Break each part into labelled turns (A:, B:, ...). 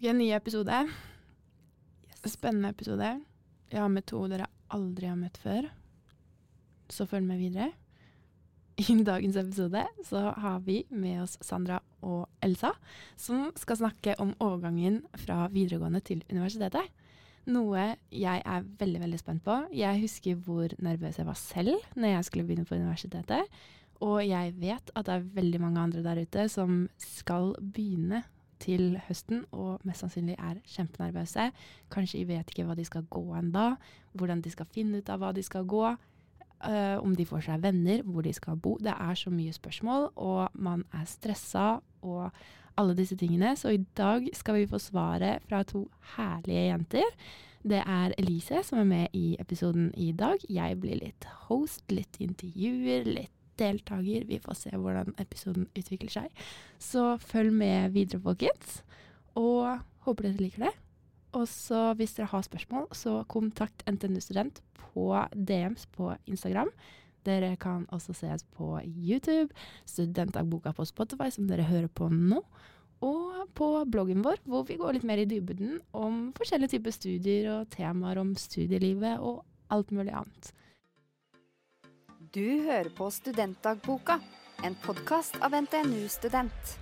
A: Ok, ny episode. Spennende episode. Jeg har med to dere aldri har møtt før. Så følg med videre. I dagens episode så har vi med oss Sandra og Elsa, som skal snakke om overgangen fra videregående til universitetet. Noe jeg er veldig veldig spent på. Jeg husker hvor nervøs jeg var selv når jeg skulle begynne på universitetet. Og jeg vet at det er veldig mange andre der ute som skal begynne til høsten, og mest sannsynlig er kjempenervøse. Kanskje de vet ikke hva de skal gå an da, hvordan de skal finne ut av hva de skal gå, øh, om de får seg venner, hvor de skal bo. Det er så mye spørsmål, og man er stressa og alle disse tingene. Så i dag skal vi få svaret fra to herlige jenter. Det er Elise som er med i episoden i dag. Jeg blir litt host, litt intervjuer, litt deltaker. Vi får se hvordan episoden utvikler seg. Så følg med videre, folkens. Og håper dere liker det. Og så hvis dere har spørsmål, så kontakt NTNU Student på DMs på Instagram. Dere kan også ses på YouTube, Studentdagboka på Spotify, som dere hører på nå. Og på bloggen vår, hvor vi går litt mer i dybden om forskjellige typer studier og temaer om studielivet og alt mulig annet.
B: Du hører på Studentdagboka, en podkast av NTNU Student.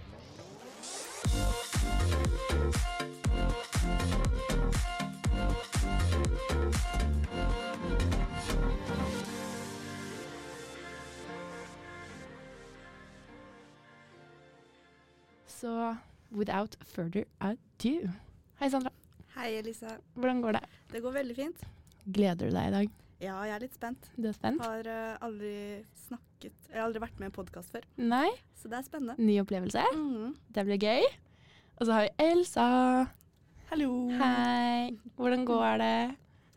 A: Så without further ado Hei, Sandra.
C: Hei, Elisa.
A: Hvordan går det?
C: Det går veldig fint.
A: Gleder du deg i dag?
C: Ja, jeg er litt spent.
A: Du er spent?
C: Har eh, aldri snakket Jeg har aldri vært med i en podkast før,
A: Nei?
C: så det er spennende.
A: Ny opplevelse?
C: Mhm.
A: Det blir gøy. Og så har vi Elsa.
D: Hallo.
A: Hei. Hvordan går det?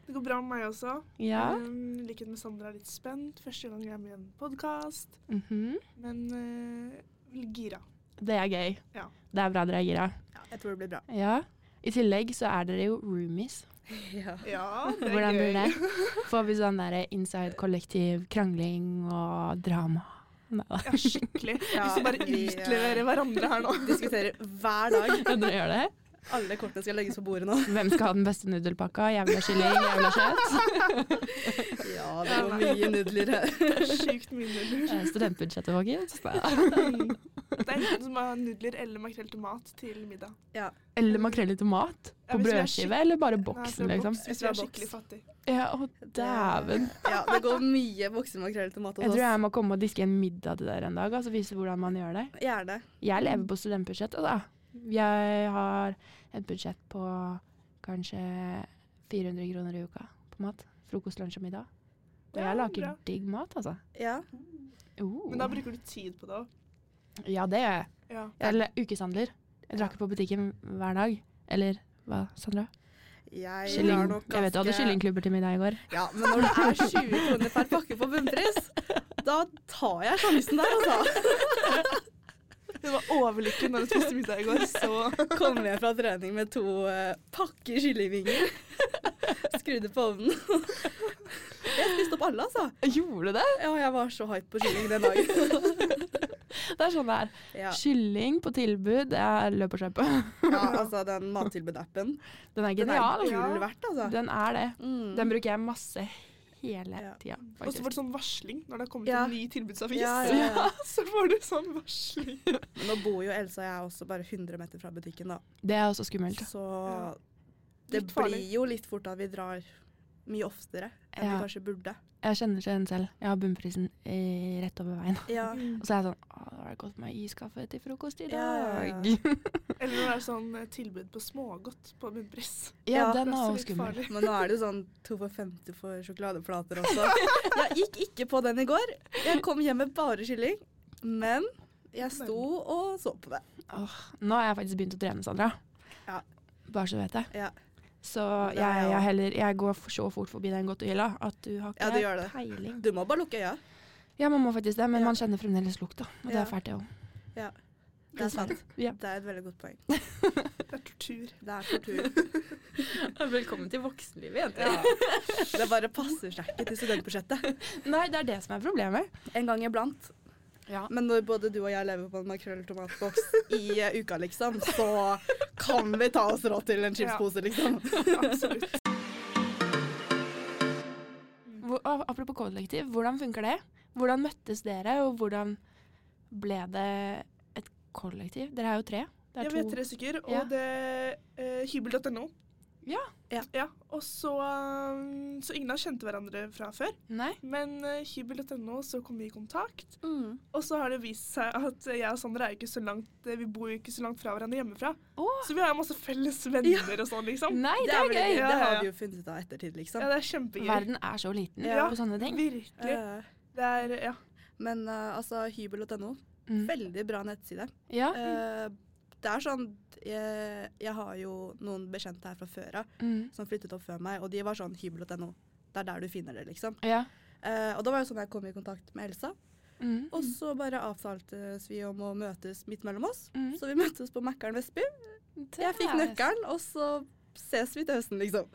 D: Det går bra med meg også.
A: Ja?
D: Um, I likhet med Sandra er jeg litt spent. Første gang jeg er med i en podkast.
A: Mhm.
D: Men eh, litt gira.
A: Det er gøy.
D: Ja.
A: Det er bra dere er gira.
C: Ja, jeg tror det blir bra.
A: Ja. I tillegg så er dere jo roomies.
C: Ja.
D: Ja, det er
A: Hvordan
D: gøy.
A: blir det? Får vi sånn der inside kollektiv krangling og drama? Nei da.
D: Ja, skikkelig. Hvis vi bare
C: vi, eh,
D: utleverer hverandre her nå.
C: Diskuterer hver dag.
A: Ja, Dere gjør det?
C: Alle kortene skal legges på bordet nå.
A: Hvem skal ha den beste nudelpakka? Jeg vil ha kylling, jeg vil ha kjøtt.
C: Ja, det går mye nudler her.
D: Det er Sjukt mye nudler.
A: Eh, Studentbudsjettet, folkens.
D: Det er enten som har nudler eller makrell tomat til middag.
A: Eller makrell i tomat?
D: Ja,
A: På
D: hvis vi er
A: brødskive, eller bare
D: Nei,
A: boksen,
D: fra
A: liksom?
D: boks, Hvis vi
C: Fra
D: er
C: boks.
D: skikkelig fattige.
A: Ja, å dæven.
C: Ja, det går mye voksemakrell til mat
A: Jeg
D: altså
A: tror jeg må komme og diske en middag til dere en dag, altså vise hvordan man gjør det.
C: Gjerne.
A: Jeg lever på studentbudsjettet, da. Jeg har et budsjett på kanskje 400 kroner i uka på mat. Frokost, lunsj og middag. Og
D: Ja,
A: jeg lager
D: bra.
A: digg mat, altså.
C: Ja.
A: Oh.
D: Men da bruker du tid på det òg.
A: Ja, det gjør jeg.
D: Ja.
A: Eller ukeshandler. Jeg drar ikke på butikken hver dag. Eller hva, Sandra?
C: Jeg
A: Kylling. Jeg vet du hadde kyllingklubber til middag i går.
C: Ja, men når det er 20 kroner per pakke på bunnpris, da tar jeg sjansen der, altså.
D: Det var overlykken da du spiste middag i går, så
C: Kommer jeg fra trening med to eh, pakker kyllingvinger. Skrudde på ovnen. Jeg spiste opp alle, altså.
A: Gjorde det?
C: Ja, jeg var så hype på kylling den dagen.
A: Det er sånn det er.
C: Ja,
A: Kylling på tilbud. Jeg løper seg på.
C: ja altså den mattilbud-appen.
A: Den er
C: Den er
A: genial.
C: gull
D: Ja.
C: verdt, altså.
A: Den er det.
C: Mm.
A: Den bruker jeg masse hele
C: Ja.
A: tida,
D: Og så
A: faktisk.
D: får du sånn varsling når det har kommet
C: Ja.
D: en ny tilbudsavis.
C: Ja, ja, ja.
D: Så får du sånn varsling.
C: Nå bor jo Elsa og jeg også bare 100 meter fra butikken, da.
A: Det er også skummelt.
C: Så
D: Ja.
C: det
D: Litt
C: blir
D: farlig.
C: jo litt fort at vi drar mye oftere enn
A: Ja.
C: vi kanskje burde.
A: Jeg kjenner ikke den selv. Jeg har bunnprisen eh, rett over veien.
C: Ja.
A: Og så er jeg sånn Å, det var godt med iskaffe til frokost i
C: Ja,
A: dag.
C: ja,
A: Ja,
D: Eller når det er sånn eh, tilbud på smågodt på bunnpris.
C: Ja,
A: den
D: Det
A: er
D: også
A: også
D: litt
A: skummel.
D: farlig.
C: Men nå er det jo sånn to for 50 for sjokoladeplater også. Jeg gikk ikke på den i går. Jeg kom hjem med bare kylling. Men jeg sto og så på det.
A: Nå har jeg faktisk begynt å trene, Sandra.
C: Ja.
A: Bare så du vet det.
C: Ja.
A: Så
C: Det
A: jeg,
C: er jeg
A: jeg,
C: også.
A: heller, jeg går for så fort forbi den godtehylla at du har
C: Ja,
A: ikke
C: du gjør det.
A: peiling.
C: Du må bare lukke øya.
A: Ja, man må faktisk det, men
C: Ja.
A: man kjenner fremdeles lukta. Og det
C: Ja.
A: er fælt, det òg.
C: Det er sant.
A: Ja.
C: Det er et veldig godt poeng.
D: Det er tortur.
C: Det er tortur.
A: Velkommen til voksenlivet,
C: Det bare passer seg ikke til studentbudsjettet.
A: Nei, det er det som er problemet.
C: En gang iblant.
A: Ja.
C: Men når både du og jeg lever på en makrell i tomatboks i eh, uka, liksom, så kan vi ta oss råd til en chipspose, liksom?
D: Absolutt.
A: Hvor, og apropos kollektiv, hvordan funker det? Hvordan møttes dere, og hvordan ble det et kollektiv? Dere er jo tre. Det
D: Jeg
A: er
D: vet
A: to.
D: tre stykker, og
A: Ja.
D: det eh, Hybel.no.
A: Ja.
D: ja. Og så um, Så ingen av oss kjente hverandre fra før,
A: Nei?
D: men eh, hybel.no, så kom vi i kontakt.
A: Mm.
D: Og så har det vist seg at jeg og Sander er jo ikke så langt eh, Vi bor jo ikke så langt fra hverandre hjemmefra.
A: Åh.
D: Så vi har jo masse felles venner og sånn, liksom.
A: Nei, det
C: Det,
A: er gøy!
D: Ja,
C: det
D: ja,
C: har
D: ja.
C: vi jo funnet ut av ettertid, liksom.
D: Ja, det er kjempegøy.
A: Verden er så liten
D: Ja.
A: på sånne ting.
D: Virkelig.
C: Eh,
D: Det er Ja.
C: Men eh, altså, hybel.no,
A: Mm.
C: veldig bra nettside.
A: Ja.
C: Eh, det er sånn jeg, jeg har jo noen bekjente her fra før av
A: Mm.
C: som flyttet opp før meg, og de var sånn hybel.no. Det er der du finner det, liksom.
A: Ja.
C: Eh, og da var jo sånn jeg kom i kontakt med Elsa.
A: Mm.
C: Og så bare avtaltes vi om å møtes midt mellom oss.
A: Mm.
C: Så vi møttes på Mækkern Vestby. Jeg
A: Det
C: fikk
A: er-
C: nøkkelen, og så ses vi til høsten, liksom.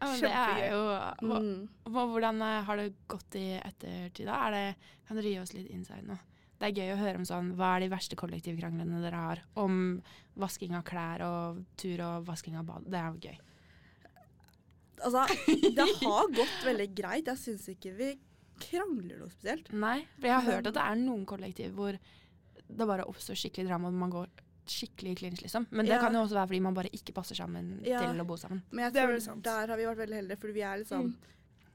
A: Ja, men det
D: Kjempegøy.
A: er jo hva,
C: Mm.
A: hva, Hvordan eh, har det gått i ettertid, da? Er det, kan dere gi oss litt insight nå? Det er gøy å høre om sånn Hva er de verste kollektivkranglene dere har? Om vasking av klær og tur og vasking av bad. Det er jo gøy.
C: Altså, det har gått veldig greit. Jeg syns ikke vi krangler noe spesielt.
A: Nei, for jeg har hørt at det er noen kollektiv hvor det bare oppstår skikkelig drama og man går skikkelig i clinch, liksom. Men det
C: Ja.
A: kan jo også være fordi man bare ikke passer sammen
C: Ja.
A: til å bo sammen.
C: Men jeg
D: Det er
C: tror
D: vel sant. Mm.
C: der har vi vært veldig heldige, fordi vi er liksom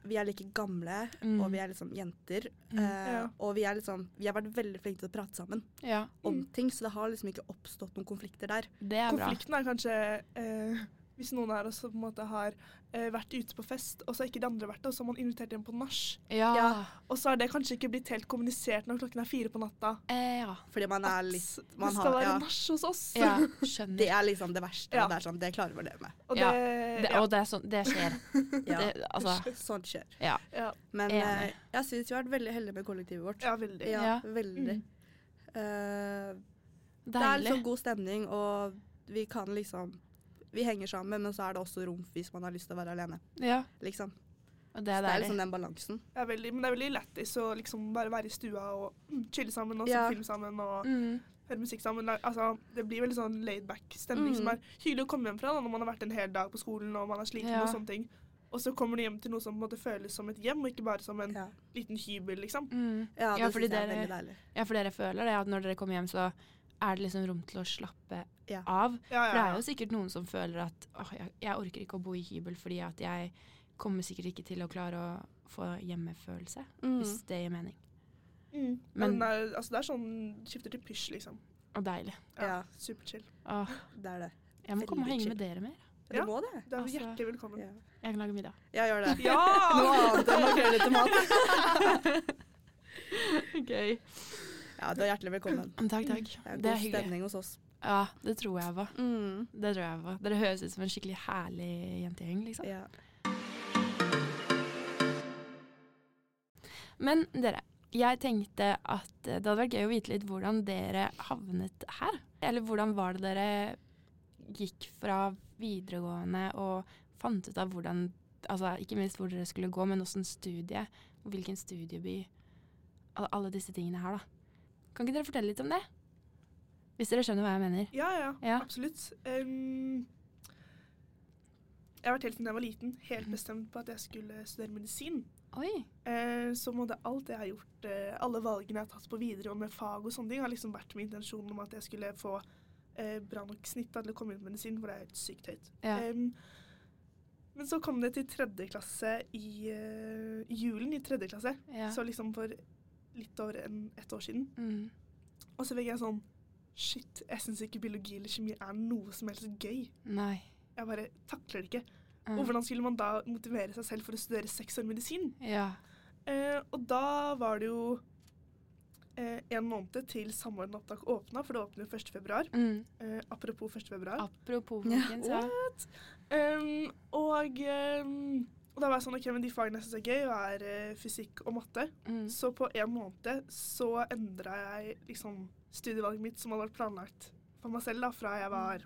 C: Vi er like gamle,
A: Mm.
C: og vi er liksom jenter.
A: Mm.
C: eh,
D: Ja.
C: Og vi er liksom Vi har vært veldig flinke til å prate sammen
A: Ja,
C: om
D: Mm.
C: ting, så det har liksom ikke oppstått noen konflikter der.
A: det er bra.
D: Konflikten er kanskje eh, hvis noen her også på en måte har eh, vært ute på fest, og så har ikke de andre vært det, og så har man invitert dem på nach.
A: Ja. Ja.
C: Ja.
D: Og så har det kanskje ikke blitt helt kommunisert når klokken er fire på natta.
A: Eh, ja.
C: Fordi man er
D: at
C: litt
D: det
C: man
D: skal
C: har-
D: være
C: ja.
D: nach hos oss.
A: ja.
C: Det
A: Skjønner.
C: er liksom det verste.
D: Ja.
C: og Det er sånn, det klarer vi å leve med.
D: Og det,
A: Ja. Det,
D: ja.
A: og det, er sånn, det skjer.
C: Ja.
A: Det, altså,
C: Sånt skjer.
A: ja.
D: Ja,
C: Men
A: Enig.
C: eh, jeg syns vi har vært veldig heldige med kollektivet vårt.
D: ja, veldig.
C: Ja,
A: Ja.
C: veldig.
D: Mm.
C: Eh, det er
A: Deilig.
C: liksom god stemning, og vi kan liksom Vi henger sammen, men så er det også rom hvis man har lyst til å være alene.
A: Ja,
C: Liksom.
A: og det
C: Så
A: er
C: det er
A: deilig.
C: liksom den balansen.
D: Det er veldig, men det er veldig lættis å liksom bare være i stua og mm, chille sammen og se
C: Ja.
D: film sammen og
A: Mm.
D: høre musikk sammen. La- Altså, det blir veldig sånn laid-back stemning
C: Mm.
D: som er hyggelig å komme hjem fra da, når man har vært en hel dag på skolen og man er sliten
A: Ja.
D: og sånne ting. Og så kommer du hjem til noe som på en måte føles som et hjem, og ikke bare som en
C: Ja,
D: liten hybel, liksom.
A: Mm.
C: ja det
A: Ja, fordi
C: syns jeg er
A: dere-
C: veldig deilig.
A: ja, for dere føler det at når dere kommer hjem, så er det liksom rom til å slappe
C: Ja.
A: av.
D: Ja,
A: For det
D: ja,
A: er
D: ja.
A: jo sikkert noen som føler at åh, jeg, jeg orker ikke å bo i hybel fordi at jeg kommer sikkert ikke til å klare å få hjemmefølelse, hvis
C: Mm.
A: det gir mening.
D: Mm.
A: Men-
D: Men det er, altså, det er sånn skifter til pysj, liksom.
A: Og deilig.
C: Ja,
D: Superchill.
A: Åh,
C: det er det.
A: jeg må komme og
C: Veldig
A: henge
C: chill.
A: med dere mer.
C: Du
D: Ja.
C: må det.
D: Du er
A: Altså-
D: hjertelig velkommen.
C: Ja.
A: Jeg kan lage middag.
C: Jeg gjør det.
D: Ja!
C: Noe annet enn makrell i tomat.
A: Gøy.
C: Ja, du er hjertelig velkommen.
A: Mm, Takk, takk.
C: Det er
A: Det
C: god
A: er hyggelig.
C: stemning hos oss.
A: Ja, det tror jeg på.
C: Mm.
A: Det tror jeg på. Dere høres ut som en skikkelig herlig jentegjeng, liksom.
C: Ja.
A: Men dere, jeg tenkte at eh, det hadde vært gøy å vite litt hvordan dere havnet her. Eller hvordan var det dere gikk fra videregående og fant ut av hvordan Altså ikke minst hvor dere skulle gå, men åssen studie, og hvilken studieby. al- Alle disse tingene her, da. Kan ikke dere fortelle litt om det? Hvis dere skjønner hva jeg mener.
D: Ja, ja,
A: Ja.
D: absolutt. Ehm, jeg har vært helt siden jeg var liten,
A: Mhm.
D: helt bestemt på at jeg skulle studere medisin.
A: Oi.
D: Eh, så måtte alt jeg har gjort, eh, alle valgene jeg har tatt på videregående med fag og sånne ting, har liksom vært min intensjon om at jeg skulle få eh, bra nok snitt da til å komme inn på medisin, for det er helt sykt høyt.
A: Ja.
D: Ehm, men så kom det til tredje klasse i eh, i julen i tredje klasse,
A: ja.
D: så liksom for litt over en, et år siden.
A: Mm.
D: Og så fikk jeg sånn Shit, jeg syns ikke biologi eller kjemi er noe som helst gøy.
A: Nei.
D: Jeg bare takler det ikke.
A: Mm.
D: Og hvordan skulle man da motivere seg selv for å studere seks år medisin?
A: Ja.
D: Eh, og da var det jo eh, en måned til Samordna opptak åpna, for det åpner jo 1. februar.
A: Mm.
D: Eh, apropos 1. februar.
A: Apropos,
C: Ja.
A: folkens. Ja.
D: Um, og, um, og da var jeg sånn OK, men de fagene jeg syns er gøy, er eh, fysikk og matte.
A: Mm.
D: Så på en måned så endra jeg liksom studievalget mitt som hadde vært planlagt for meg selv da, fra jeg var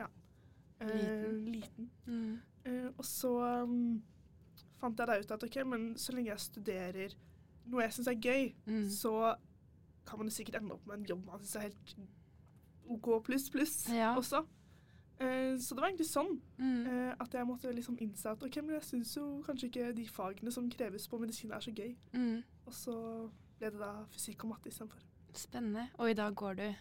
D: ja, eh,
A: Mm. Liten.
D: liten.
A: Mm.
D: Eh, og så um, fant jeg da ut at OK, men så lenge jeg studerer noe jeg syns er gøy,
A: Mm.
D: så kan man jo sikkert ende opp med en jobb man syns er helt OK pluss pluss
A: Ja.
D: også. Eh, så det var egentlig sånn
A: Mm.
D: eh, at jeg måtte liksom innse at ok, men jeg syns jo kanskje ikke de fagene som kreves på medisin, er så gøy.
A: Mm.
D: Og så ble det da fysikk og matte istedenfor.
A: Spennende. Og i dag går du.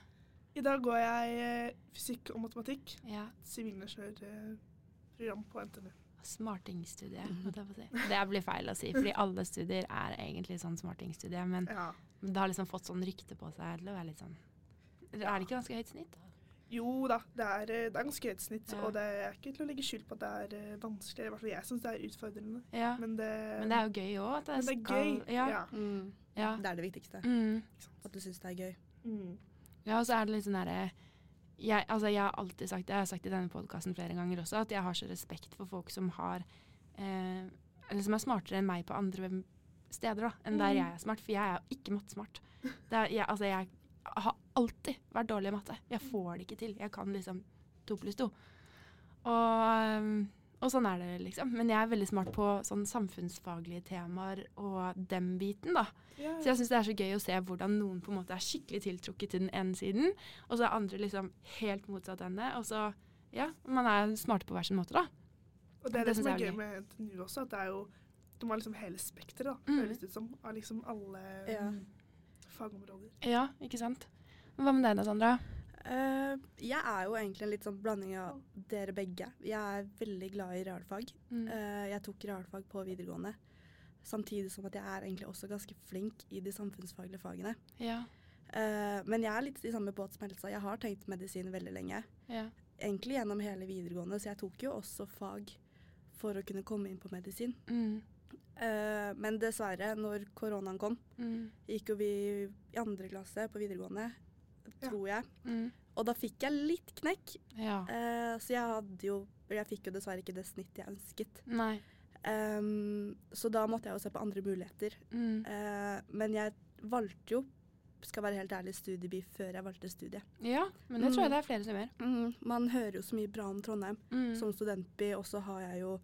D: I dag går jeg eh, fysikk og matematikk,
A: Ja,
D: sivilingeniørprogram på NTNU.
A: Smartingstudiet. holdt jeg på å si. Det blir feil å si, fordi alle studier er egentlig sånn smartingstudie. Men
D: Ja.
A: det har liksom fått sånn rykte på seg til å være litt sånn Er det ikke ganske høyt snitt? da?
D: Jo da, det er, eh, det er ganske høyt snitt,
A: Ja.
D: og det er ikke til å legge skjul på at det er eh, vanskelig. I hvert fall jeg syns det er utfordrende.
A: Ja.
D: Men det,
A: Men det er jo gøy òg. at
D: men det
A: det
D: er
A: skal
D: gøy.
A: Ja.
D: Ja.
C: Mm.
A: ja.
C: Det er det viktigste.
A: Mm.
C: At du syns det er gøy.
D: Mm.
A: Ja, og så er det litt sånn derre jeg, altså jeg har alltid sagt det, jeg har sagt i denne podkasten flere ganger også, at jeg har så respekt for folk som har eh, Eller som er smartere enn meg på andre steder da, enn der jeg er smart. For jeg er jo ikke mattesmart. Det er, jeg, altså jeg har alltid vært dårlig i matte. Jeg får det ikke til. Jeg kan liksom to pluss to. Og, um, og sånn er det, liksom. Men jeg er veldig smart på sånn samfunnsfaglige temaer og den biten, da.
D: Ja.
A: Så jeg syns det er så gøy å se hvordan noen på en måte er skikkelig tiltrukket til den ene siden, og så er andre liksom helt motsatt ende. Og så ja, man er smarte på hver sin måte, da.
D: Og det
A: Det
D: er det som
A: synes
D: er
A: jeg
D: gøy
A: er
D: med NTNU også, at det er jo de har liksom hele spekteret, da,
A: Mm.
D: høres det ut som. Av liksom alle
C: Ja.
D: fagområder.
A: Ja, ikke sant. Men Hva med deg da, Sandra?
C: Eh, jeg er jo egentlig en litt sånn blanding av dere begge. Jeg er veldig glad i realfag.
A: Mm.
C: Eh, jeg tok realfag på videregående. Samtidig som at jeg er egentlig også ganske flink i de samfunnsfaglige fagene.
A: Ja,
C: Eh, men jeg er litt i samme båt som Elsa. Jeg har tenkt medisin veldig lenge.
A: ja.
C: Egentlig gjennom hele videregående, så jeg tok jo også fag for å kunne komme inn på medisin.
A: Mm.
C: Eh, men dessverre, når koronaen kom,
A: Mm.
C: gikk jo vi i andre klasse på videregående,
D: Ja.
C: tror jeg.
A: Mm.
C: Og da fikk jeg litt knekk.
A: Ja.
C: Eh, så jeg hadde jo Jeg fikk jo dessverre ikke det snittet jeg ønsket.
A: Nei.
C: Ehm, så da måtte jeg jo se på andre muligheter.
A: Mm.
C: Eh, men jeg valgte jo, skal være helt ærlig, studieby før jeg valgte studiet.
A: Ja, men det tror jeg det er flere som gjør.
C: Man hører jo så mye bra om Trondheim.
A: Mm.
C: Som studentby, og så har jeg jo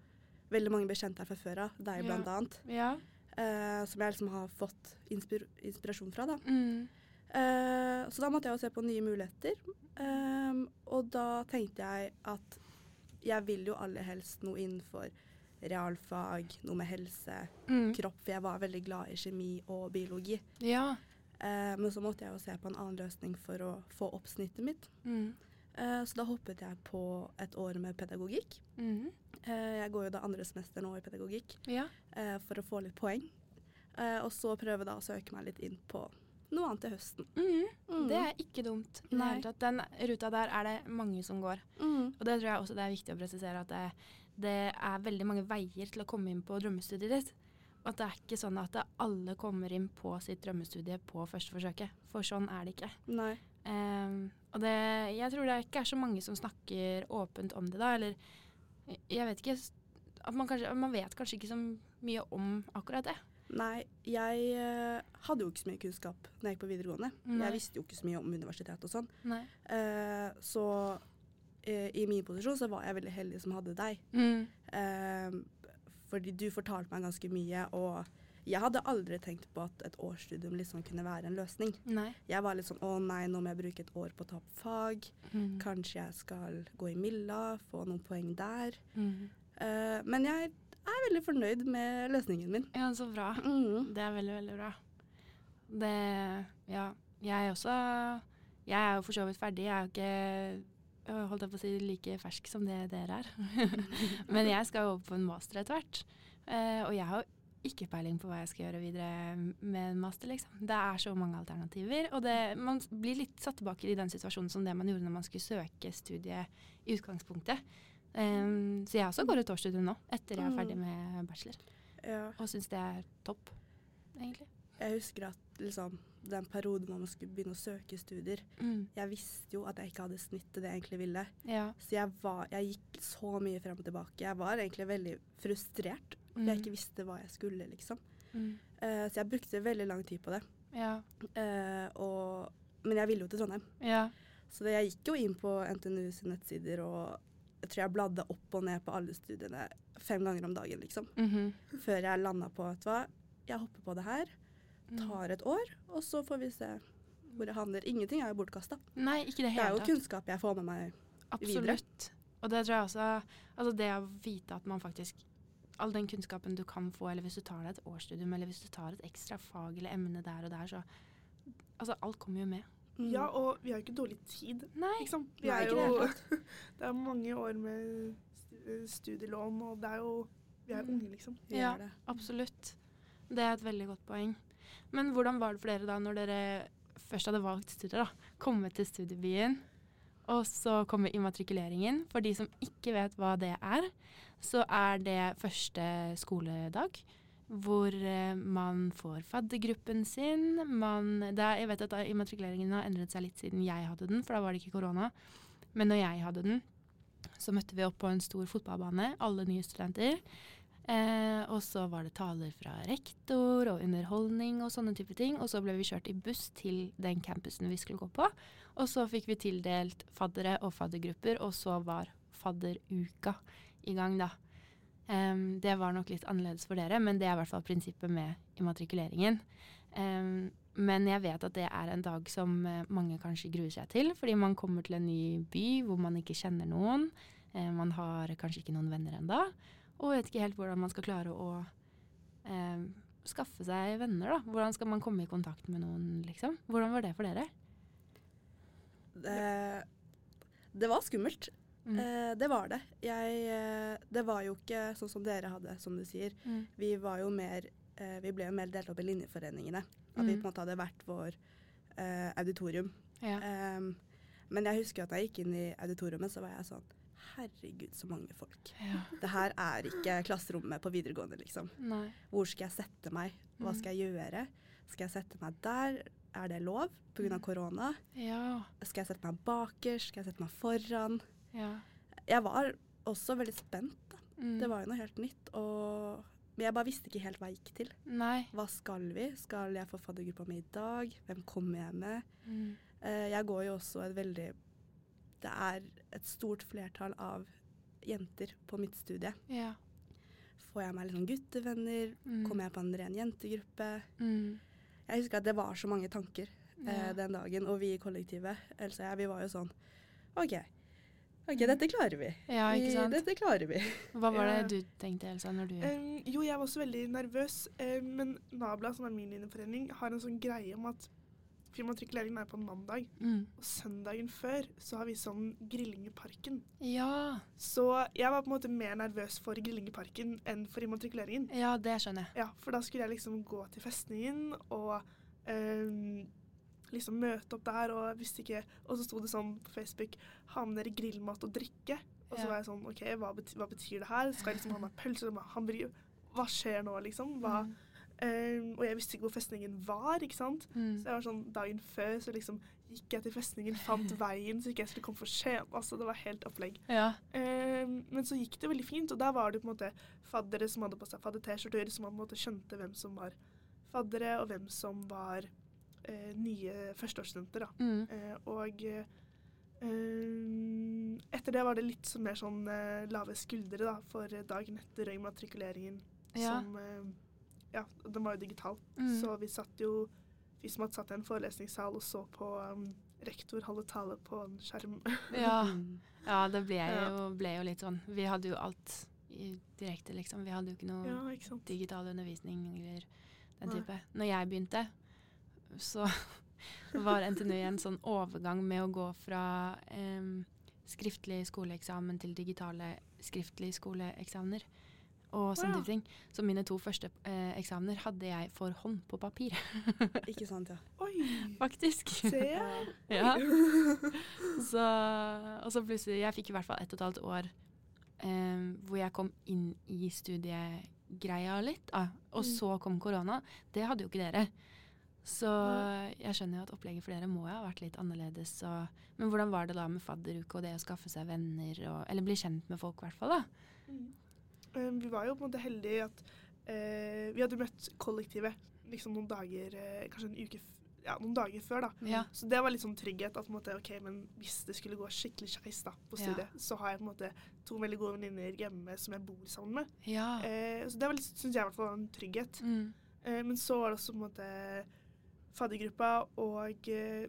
C: veldig mange bekjente her fra før av, deg
A: Ja.
C: blant annet,
A: Ja.
C: eh, som jeg liksom har fått inspir inspirasjon fra, da.
A: Mm.
C: Eh, så da måtte jeg jo se på nye muligheter. Ehm, og da tenkte jeg at jeg vil jo aller helst noe innenfor realfag, noe med helse,
A: Mm.
C: kropp, for jeg var veldig glad i kjemi og biologi.
A: Ja.
C: Eh, men så måtte jeg jo se på en annen løsning for å få opp snittet mitt.
A: Mm.
C: Eh, så da hoppet jeg på et år med pedagogikk.
A: Mm.
C: Eh, jeg går jo da andre semester nå i pedagogikk
A: Ja.
C: eh, for å få litt poeng. Eh, og så prøve da å søke meg litt inn på noe annet til høsten.
A: Mm. Det er ikke dumt. i det
C: Nei.
A: hele tatt. Den ruta der er det mange som går.
C: Mm.
A: Og det tror jeg også det er viktig å presisere, at det, det er veldig mange veier til å komme inn på drømmestudiet ditt. Og At det er ikke sånn at det- alle kommer inn på sitt drømmestudie på første forsøket. For sånn er det ikke.
C: Nei.
A: Ehm, og det, jeg tror det ikke er så mange som snakker åpent om det da, eller jeg vet ikke s- at man, kanskje, man vet kanskje ikke så mye om akkurat det.
C: Nei, jeg eh, hadde jo ikke så mye kunnskap når jeg gikk på videregående.
A: Nei.
C: Jeg visste jo ikke så mye om universitet og sånn.
A: Nei.
C: Eh, så eh, i min posisjon så var jeg veldig heldig som hadde deg.
A: Mm.
C: Eh, fordi du fortalte meg ganske mye, og jeg hadde aldri tenkt på at et årsstudium liksom kunne være en løsning.
A: Nei.
C: Jeg var litt sånn å nei, nå må jeg bruke et år på å ta opp fag.
A: Mm.
C: Kanskje jeg skal gå i Milla, få noen poeng der.
A: Mm.
C: Eh, men jeg er veldig fornøyd med løsningen min.
A: Ja, så bra.
C: Mm.
A: Det er veldig, veldig bra. Det Ja. Jeg også Jeg er jo for så vidt ferdig. Jeg er jo ikke øh, holdt jeg på å si like fersk som det dere er. Men jeg skal jo over på en master etter hvert. Eh, og jeg har jo ikke peiling på hva jeg skal gjøre videre med en master, liksom. Det er så mange alternativer. Og det, man blir litt satt tilbake i den situasjonen som det man gjorde når man skulle søke studiet i utgangspunktet. Eh, så jeg også går et årsstudium nå, etter jeg er ferdig med bachelor.
C: Ja.
A: Og syns det er topp, egentlig.
C: Jeg husker at liksom, den perioden man skulle begynne å søke studier
A: Mm.
C: Jeg visste jo at jeg ikke hadde snitt til det jeg egentlig ville.
A: Ja.
C: Så jeg, var, jeg gikk så mye frem og tilbake. Jeg var egentlig veldig frustrert. for Jeg ikke visste hva jeg skulle, liksom.
A: Mm.
C: Eh, så jeg brukte veldig lang tid på det.
A: Ja.
C: Eh, og, men jeg ville jo til Trondheim.
A: Ja.
C: Så det, jeg gikk jo inn på NTNU sine nettsider og jeg tror jeg bladde opp og ned på alle studiene fem ganger om dagen, liksom.
A: Mhm.
C: Før jeg landa på vet du hva, jeg hopper på det her,
A: Mm.
C: tar et år, og så får vi se hvor jeg havner. Ingenting er jo bortkasta.
A: Nei, ikke i det
C: Det er
A: hele
C: jo
A: tatt.
C: kunnskap jeg får med meg. videre.
A: Absolutt. Og det tror jeg også Altså det å vite at man faktisk All den kunnskapen du kan få, eller hvis du tar deg et årsstudium, eller hvis du tar et ekstra fag eller emne der og der, så Altså alt kommer jo med.
C: Mm.
D: Ja, og vi har jo ikke dårlig tid.
A: Nei.
D: Ikke sant? Vi
C: Nei,
D: er
C: ikke
D: jo,
C: det
D: det er mange år med stu- studielån, og det er jo Vi er
A: Mm.
D: unge, liksom.
C: Vi
A: Ja.
C: gjør det.
A: Absolutt. Det er et veldig godt poeng. Men hvordan var det for dere da, når dere først hadde valgt studier, da? Komme til studiebyen, og så kommer immatrikuleringen. For de som ikke vet hva det er, så er det første skoledag. Hvor eh, man får faddergruppen sin. Man, det er, jeg vet at immatrikuleringen har endret seg litt siden jeg hadde den, for da var det ikke korona. Men når jeg hadde den, så møtte vi opp på en stor fotballbane, alle nye studenter. Eh, og så var det taler fra rektor og underholdning og sånne type ting. Og så ble vi kjørt i buss til den campusen vi skulle gå på. Og så fikk vi tildelt faddere og faddergrupper, og så var fadderuka i gang, da. Em, det var nok litt annerledes for dere, men det er i hvert fall prinsippet med immatrikuleringen. Em, men jeg vet at det er en dag som eh, mange kanskje gruer seg til, fordi man kommer til en ny by hvor man ikke kjenner noen. Eh, man har kanskje ikke noen venner ennå og vet ikke helt hvordan man skal klare å eh, skaffe seg venner. da. Hvordan skal man komme i kontakt med noen, liksom? Hvordan var det for dere?
C: Det, det var skummelt.
A: Mm.
C: Eh, det var det. Jeg, eh, det var jo ikke sånn som dere hadde, som du sier.
A: Mm.
C: Vi var jo mer eh, Vi ble jo mer delt opp i linjeforeningene. At vi på
A: Mm.
C: en måte hadde hvert vår eh, auditorium.
A: Ja.
D: eh,
C: Ehm, men jeg husker at da jeg gikk inn i auditoriumet, så var jeg sånn Herregud, så mange folk.
A: ja.
C: Det her er ikke klasserommet på videregående, liksom.
A: Nei.
C: Hvor skal jeg sette meg? Hva
A: Mm.
C: skal jeg gjøre? Skal jeg sette meg der? Er det lov pga.
A: Mm.
C: korona?
A: Ja.
C: Skal jeg sette meg bakerst? Skal jeg sette meg foran?
A: Ja.
C: Jeg var også veldig spent.
A: Mm.
C: Det var jo noe helt nytt. Og men jeg bare visste ikke helt hva jeg gikk til.
A: Nei.
C: Hva skal vi? Skal jeg få faddergruppa mi i dag? Hvem kommer jeg med?
A: Mm.
C: Eh, Jeg går jo også et veldig Det er et stort flertall av jenter på mitt studie.
A: Ja.
C: Får jeg meg litt sånn guttevenner?
A: Mm.
C: Kommer jeg på en ren jentegruppe?
A: Mm.
C: Jeg husker at det var så mange tanker eh,
A: Ja.
C: den dagen, og vi i kollektivet, Else og jeg, vi var jo sånn OK. OK, dette klarer vi.
A: Mm. ja, ikke
C: Vi-
A: sant.
C: Dette klarer vi.
A: Hva var
D: Ja.
A: det du tenkte, Elsa, når du
D: Eh, jo, jeg var også veldig nervøs, eh, men Nabla, som er min linjeforening, har en sånn greie om at filmmatrikuleringen er på en mandag,
A: mm.
D: og søndagen før så har vi sånn grilling i parken.
A: Ja.
D: Så jeg var på en måte mer nervøs for grilling i parken enn for immatrikuleringen.
A: Ja, det skjønner jeg.
D: Ja, for da skulle jeg liksom gå til festningen og ehm, liksom møte opp der, og jeg visste ikke Og så sto det sånn på Facebook 'Ha med dere grillmat og drikke'. Og så
A: Ja.
D: var jeg sånn OK, hva betyr, hva betyr det her? Skal jeg liksom ha meg pølse eller hamburger? Hva skjer nå, liksom? Hva?
A: Mm.
D: Ehm, og jeg visste ikke hvor festningen var, ikke sant.
A: Mm.
D: Så jeg var sånn dagen før så liksom gikk jeg til festningen, fant veien, så ikke jeg skulle komme for sent. Altså, det var helt opplegg.
A: Ja.
D: Eh, men så gikk det veldig fint, og der var det på en måte faddere som hadde på seg fadder-T-skjorter, som på en måte skjønte hvem som var faddere, og hvem som var eh, nye førsteårsstudenter. da.
A: Mm.
D: Eh, og eh, eh, etter det var det litt sånn mer sånn eh, lave skuldre da, for dagen etter og immatrikuleringen,
A: Ja.
D: som eh, Ja, den var jo digital,
A: Mm.
D: så vi satt jo Vi som hadde satt i en forelesningssal og så på eh, rektor holde tale på en skjerm.
A: ja.
C: Mm.
A: Ja, det ble
D: Ja.
A: jo, ble jo litt sånn. Vi hadde jo alt i direkte, liksom. Vi hadde jo ikke noe
D: ja, ikke sant?
A: digital undervisning eller den
D: Nei.
A: type. Når jeg begynte, så var NTNU en sånn overgang med å gå fra em, skriftlig skoleeksamen til digitale skriftlige skoleeksamener. Og sånne
D: Wow.
A: type ting. Så mine to første eh, eksamener hadde jeg for hånd på papir,
C: Ikke sant, ja.
D: Oi!
A: faktisk.
D: Se! eh,
A: Ja. Så, og så plutselig Jeg fikk i hvert fall ett og et halvt år eh, hvor jeg kom inn i studiegreia litt. Ah, og
D: Mm.
A: så kom korona. Det hadde jo ikke dere. Så
D: Nei.
A: jeg skjønner jo at opplegget for dere må jo ha vært litt annerledes. Og, men hvordan var det da med fadderuke og det å skaffe seg venner og Eller bli kjent med folk, i hvert fall. da.
D: Eh, Vi var jo på en måte heldige i at eh, vi hadde møtt kollektivet liksom noen dager, eh, kanskje en uke, f- ja, noen dager før da.
A: Ja.
D: Så det var litt sånn trygghet at på en måte, ok, men hvis det skulle gå skikkelig skeis da på
A: Ja.
D: studiet, så har jeg på en måte to veldig gode venninner hjemme som jeg bor sammen med.
A: Ja.
D: Eh, så det var litt, synes jeg i hvert fall var en trygghet.
A: Mm.
D: Eh, men så var det også på en måte faddergruppa og eh,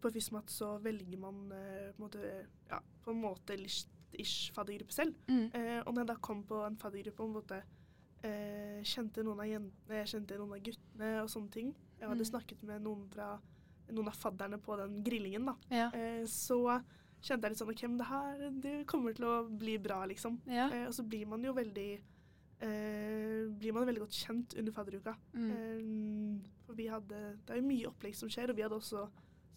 D: på FISMAT så velger man eh, på en måte, ja, på en måte litt ish faddergruppe selv.
A: Mm.
D: Eh, og når jeg da kom på en faddergruppe og på en måte, eh, kjente noen av jentene, jeg kjente noen av guttene og sånne ting. Jeg hadde
A: Mm.
D: snakket med noen fra noen av fadderne på den grillingen, da.
A: Ja.
D: Eh, så kjente jeg litt sånn OK, men det her det kommer til å bli bra, liksom.
A: ja.
D: Eh, og så blir man jo veldig eh, blir man veldig godt kjent under fadderuka.
A: Mm.
D: Eh, for vi hadde Det er jo mye opplegg som skjer, og vi hadde også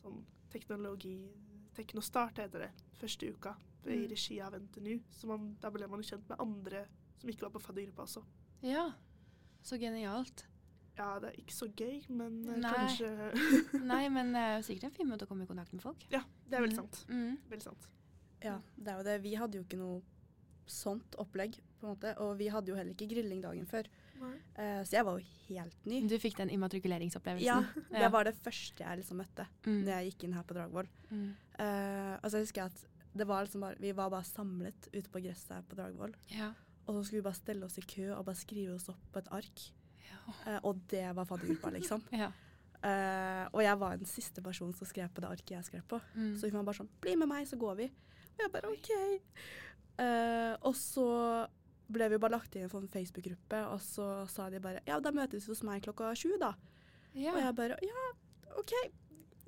D: sånn teknologi Teknostart heter det. Første uka i
A: Mm.
D: regi av NTNU. Så man, da ble man jo kjent med andre som ikke var på faddergruppa også.
A: ja. Så genialt.
D: Ja, det er ikke så gøy, men eh,
A: Nei.
D: kanskje
A: Nei, men det er jo sikkert en fin måte å komme i kontakt med folk.
D: Ja, det er veldig
A: Mm.
D: sant.
A: Mm.
D: Veldig sant.
C: Ja, det er jo det. Vi hadde jo ikke noe sånt opplegg, på en måte. Og vi hadde jo heller ikke grilling dagen før. Eh, så jeg var jo helt ny.
A: Du fikk den immatrikuleringsopplevelsen.
C: Ja,
A: Ja.
C: det var det første jeg liksom møtte
A: Mm.
C: når jeg gikk inn her på Dragvoll.
A: Mm.
C: Eh, og så husker jeg at det var liksom bare, vi var bare samlet ute på gresset her på Dragvoll.
A: Ja.
C: Og så skulle vi bare stelle oss i kø og bare skrive oss opp på et ark.
A: Ja.
C: Eh, og det var faddergruppa, liksom.
A: ja.
C: Eh, og jeg var den siste personen som skrev på det arket jeg skrev på.
A: Mm.
C: Så hun var bare sånn 'Bli med meg, så går vi'. Og jeg bare OK. Eh, og så ble vi bare lagt inn for en sånn Facebook-gruppe, og så sa de bare 'Ja, da møtes vi hos meg klokka sju', da.
A: ja.
C: Og jeg bare Ja, OK.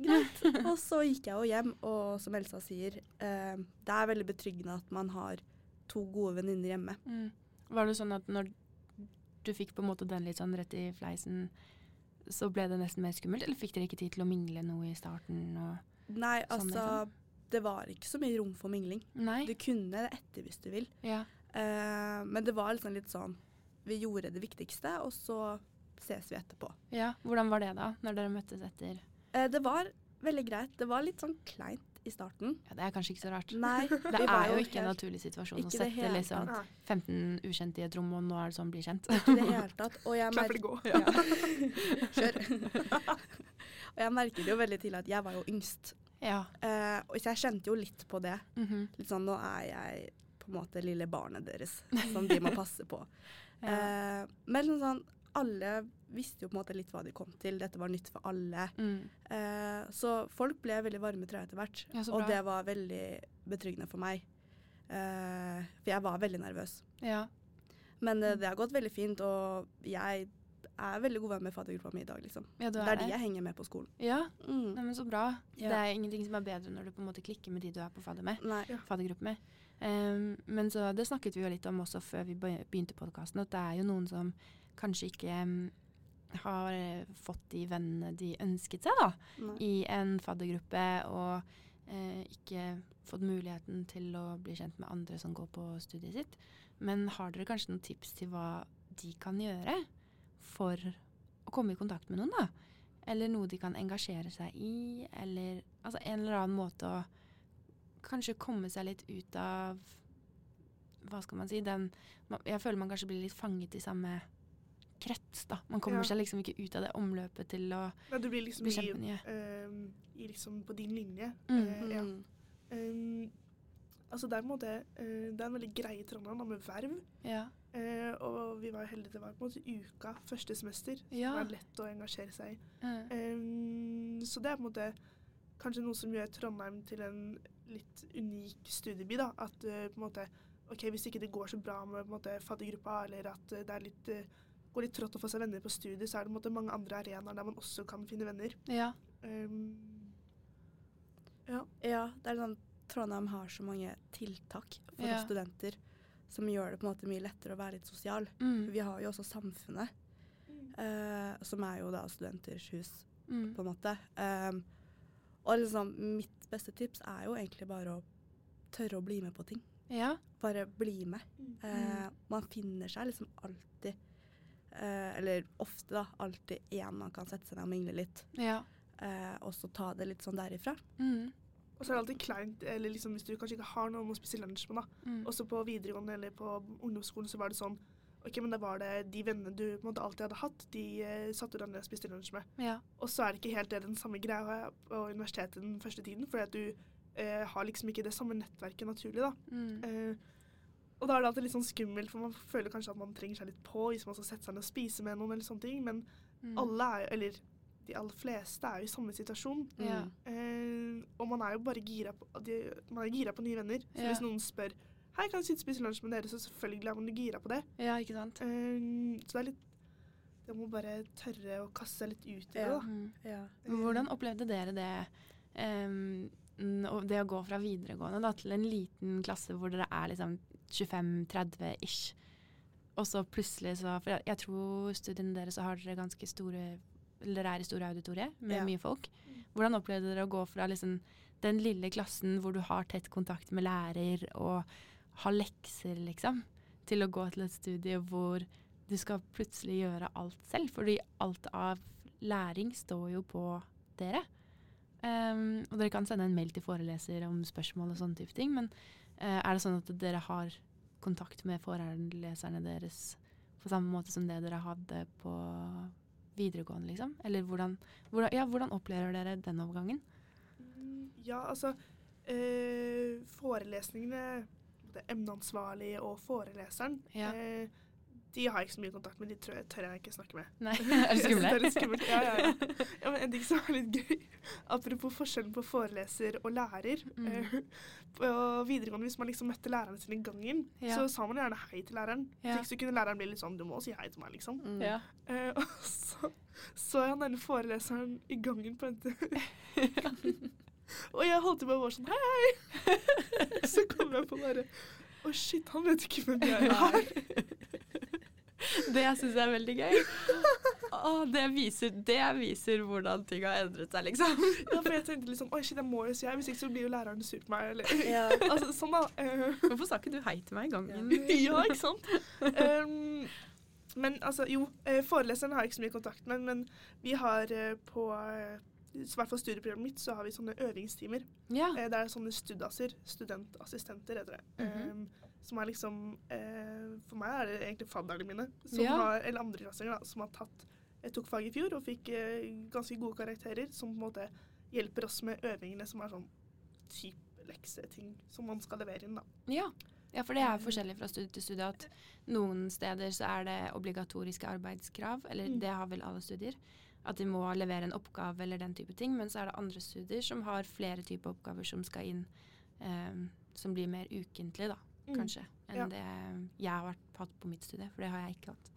C: Greit. og så gikk jeg jo hjem, og som Elsa sier, eh, det er veldig betryggende at man har to gode venninner hjemme.
A: Mm. Var det sånn at når du fikk på en måte den litt sånn rett i fleisen, så ble det nesten mer skummelt? Eller fikk dere ikke tid til å mingle noe i starten? Og
C: Nei,
A: sånn,
C: altså Det var ikke så mye rom for mingling.
A: Nei.
C: Du kunne det etter hvis du vil.
A: ja.
C: Eh, men det var liksom litt sånn Vi gjorde det viktigste, og så ses vi etterpå.
A: ja. Hvordan var det da, når dere møttes etter?
C: Eh, det var veldig greit. Det var litt sånn kleint i starten.
A: Ja, Det er kanskje ikke så rart.
C: Nei,
A: Det er jo ikke en
C: helt,
A: naturlig situasjon
C: ikke
A: å
C: det
A: sette
C: hele
A: liksom
D: tatt.
A: 15 ukjente i et rom, og nå er det sånn bli kjent.
C: ikke i det hele tatt. Og jeg
D: Klapp
C: merker,
D: eller gå.
C: ja. Kjør. og jeg merket jo veldig tidlig at jeg var jo yngst.
A: ja.
C: Eh, og så jeg kjente jo litt på det.
A: Mhm.
C: Litt sånn, nå er jeg på en måte lille barnet deres, som de må passe på.
A: ja.
C: Eh, men liksom sånn, alle visste jo på en måte litt hva de kom til. Dette var nytt for alle.
A: Mm.
C: Eh, så folk ble veldig varme i trøya etter hvert,
A: Ja, så bra.
C: og det var veldig betryggende for meg. Eh, for jeg var veldig nervøs.
A: ja.
C: Men
A: Mm.
C: eh, det har gått veldig fint, og jeg er veldig god venn med faddergruppa mi i dag, liksom.
A: Ja, du
C: Det
A: er
C: er de
A: det.
C: jeg henger med på skolen.
A: Ja,
C: Mm.
A: Nei, men så bra.
C: Ja.
A: Det er ingenting som er bedre når du på en måte klikker med de du er på fadder med.
C: Nei.
A: faddergruppe med. Ehm, men så det snakket vi jo litt om også før vi be- begynte podkasten, at det er jo noen som kanskje ikke em, har eh, fått de vennene de ønsket seg, da,
C: Nei.
A: i en faddergruppe, og eh, ikke fått muligheten til å bli kjent med andre som går på studiet sitt. Men har dere kanskje noen tips til hva de kan gjøre for å komme i kontakt med noen, da? Eller noe de kan engasjere seg i, eller altså en eller annen måte å kanskje komme seg litt ut av Hva skal man si? Den, man, jeg føler man kanskje blir litt fanget i samme krets, da. Man kommer
D: Ja.
A: seg liksom ikke ut av det omløpet til å
D: Nei, du blir liksom
A: bli
D: i,
A: kjent med nye.
D: eh, i liksom på din linje.
A: Mm.
D: Eh, ja.
C: Mm.
D: Eh, altså det er på en måte eh, Det er en veldig greie i Trondheim da, med verv.
A: Ja.
D: Eh, og vi var jo heldige, det var på en måte uka første semester. så
A: Ja.
D: Det er lett å engasjere seg i.
A: Mm.
D: Eh, så det er på en måte kanskje noe som gjør Trondheim til en litt unik studieby. da, At eh, på en måte, ok, hvis ikke det går så bra med på en måte, faddergruppa, eller at eh, det er litt, eh, går litt trått å få seg venner på studiet, så er det på en måte mange andre arenaer der man også kan finne venner.
A: ja.
D: Eh,
C: Ja, det er sånn Trondheim har så mange tiltak for
A: Ja.
C: oss studenter som gjør det på en måte mye lettere å være litt sosial.
A: Mm.
C: Vi har jo også Samfunnet, eh, som er jo da Studenters hus,
A: Mm.
C: på en måte. Um, og liksom, mitt beste tips er jo egentlig bare å tørre å bli med på ting.
A: Ja.
C: Bare bli med.
D: Mm.
C: Eh, man finner seg liksom alltid, eh, eller ofte da, alltid én man kan sette seg ned og mingle litt.
A: Ja.
C: eh, og så ta det litt sånn derifra.
A: Mm.
D: Og så er det alltid kleint, eller liksom hvis du kanskje ikke har noen å spise lunsj med, da.
A: Mm.
D: Også på videregående eller på ungdomsskolen så var det sånn OK, men da var det de vennene du på en måte alltid hadde hatt, de eh, satte du deg ned og spiste lunsj med.
A: Ja.
D: Og så er det ikke helt det den samme greia på universitetet den første tiden, fordi at du eh, har liksom ikke det samme nettverket naturlig, da.
A: Mm.
D: Eh, og da er det alltid litt sånn skummelt, for man føler kanskje at man trenger seg litt på hvis man skal sette seg ned og spise med noen eller sånne ting, men
A: Mm.
D: alle er jo, eller de aller fleste er jo i samme situasjon.
A: Ja.
D: Eh, og man er jo bare gira på, de, man er gira på nye venner. Så
A: Ja.
D: hvis noen spør Hei, kan jeg sitte og spise lunsj med dere? Så selvfølgelig er man jo gira på det.
A: Ja, ikke sant?
D: Eh, så det er litt Det må bare tørre å kaste seg litt ut i det,
C: Ja.
D: da.
A: Mm.
C: Ja.
A: Men Hvordan opplevde dere det? em, n- og det å gå fra videregående da, til en liten klasse hvor dere er liksom 25-30 ish. Og så plutselig så For jeg, jeg tror studiene deres så har dere ganske store Eller dere er i store auditorier med
C: Ja.
A: mye folk. Hvordan opplevde dere å gå fra liksom den lille klassen hvor du har tett kontakt med lærer og har lekser, liksom, til å gå til et studie hvor du skal plutselig gjøre alt selv? Fordi alt av læring står jo på dere. Ehm, og dere kan sende en mail til foreleser om spørsmål og sånne type ting, men eh, er det sånn at dere har kontakt med foreleserne deres på samme måte som det dere hadde på videregående, liksom? Eller hvordan, hvordan, ja, hvordan opplever dere den overgangen?
D: Mm, Ja, altså eh, Forelesningene, både emneansvarlig og foreleseren,
A: Ja.
D: eh, de har jeg ikke så mye kontakt med. De tror jeg, tør jeg ikke snakke med.
A: Nei, er det
D: Jeg synes
A: skumle?
D: Det er litt skummelt. Ja, ja, ja. ja, men En ting som er litt gøy, apropos forskjellen på foreleser og lærer.
A: Mm.
D: Eh, på videregående, Hvis man liksom møtte læreren sin i gangen,
A: Ja.
D: så sa man gjerne hei til læreren.
A: Ja.
D: Hvis ikke så kunne læreren bli litt sånn 'du må si hei til meg', liksom.
C: Mm.
A: Ja.
D: Eh, og så så jeg han denne foreleseren i gangen på NTNU. og jeg holdt på å være sånn hei, hei. så kom jeg på bare å shit, han vet ikke hvem jeg er.
A: Det syns jeg er veldig gøy. Å, det, viser, det viser hvordan ting har endret seg, liksom.
D: Ja, for jeg tenkte liksom oi shit, jeg må jo si hei, hvis ikke så blir jo læreren sur på meg. Eller.
C: Ja.
D: altså sånn da. eh,
A: Hvorfor sa ikke du hei til meg i gangen?
D: ja, ikke sant? Um, men altså, jo, eh, foreleseren har jeg ikke så mye kontakt med, men vi har eh, på eh, i hvert fall studieprogrammet mitt, så har vi sånne øvingstimer.
A: Ja.
D: Eh, Det er sånne studaser, studentassistenter heter det.
A: Mhm.
D: em, som er liksom eh, For meg er det egentlig fadderne mine, som
A: Ja.
D: har, eller andreklassinger, da, som har tatt Jeg tok fag i fjor og fikk eh, ganske gode karakterer, som på en måte hjelper oss med øvingene som er sånn type lekseting som man skal levere inn, da.
A: Ja. Eh, ja, for det er forskjellig fra studie til studie. At noen steder så er det obligatoriske arbeidskrav, eller
D: Mm.
A: det har vel alle studier. At de må levere en oppgave eller den type ting. Men så er det andre studier som har flere typer oppgaver som skal inn, eh, som blir mer ukentlig, da, kanskje. Enn
D: Ja.
A: det jeg har vært, hatt på mitt studie, for det har jeg ikke hatt.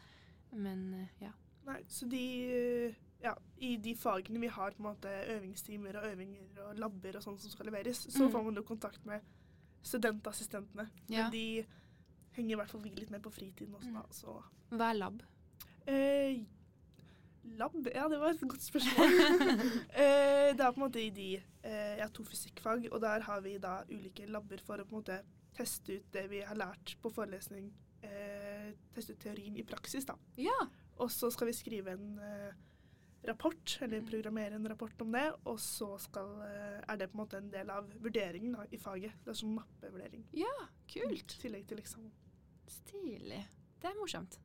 A: Men eh, ja.
D: Nei, så de eh, Ja, i de fagene vi har på en måte øvingstimer og øvinger og labber og sånt som skal leveres, så
A: Mm.
D: får man jo kontakt med studentassistentene.
A: ja. Mm.
D: Men de henger i hvert fall vi litt med på fritiden også, da. Så
A: Hva er lab?
D: Eh, lab? Ja, det var et godt spørsmål. eh, det er på en måte i de eh, Jeg har to fysikkfag, og der har vi da ulike labber for å på en måte teste ut det vi har lært på forelesning. Eh, teste ut teorien i praksis, da.
A: Ja.
D: Og så skal vi skrive en eh, rapport, eller
A: Mm.
D: programmere en rapport om det, og så skal, eh, er det på en måte en del av vurderingen da, i faget. Det er sånn mappevurdering.
A: Kult.
D: I tillegg til eksamen.
A: Stilig. Det er morsomt.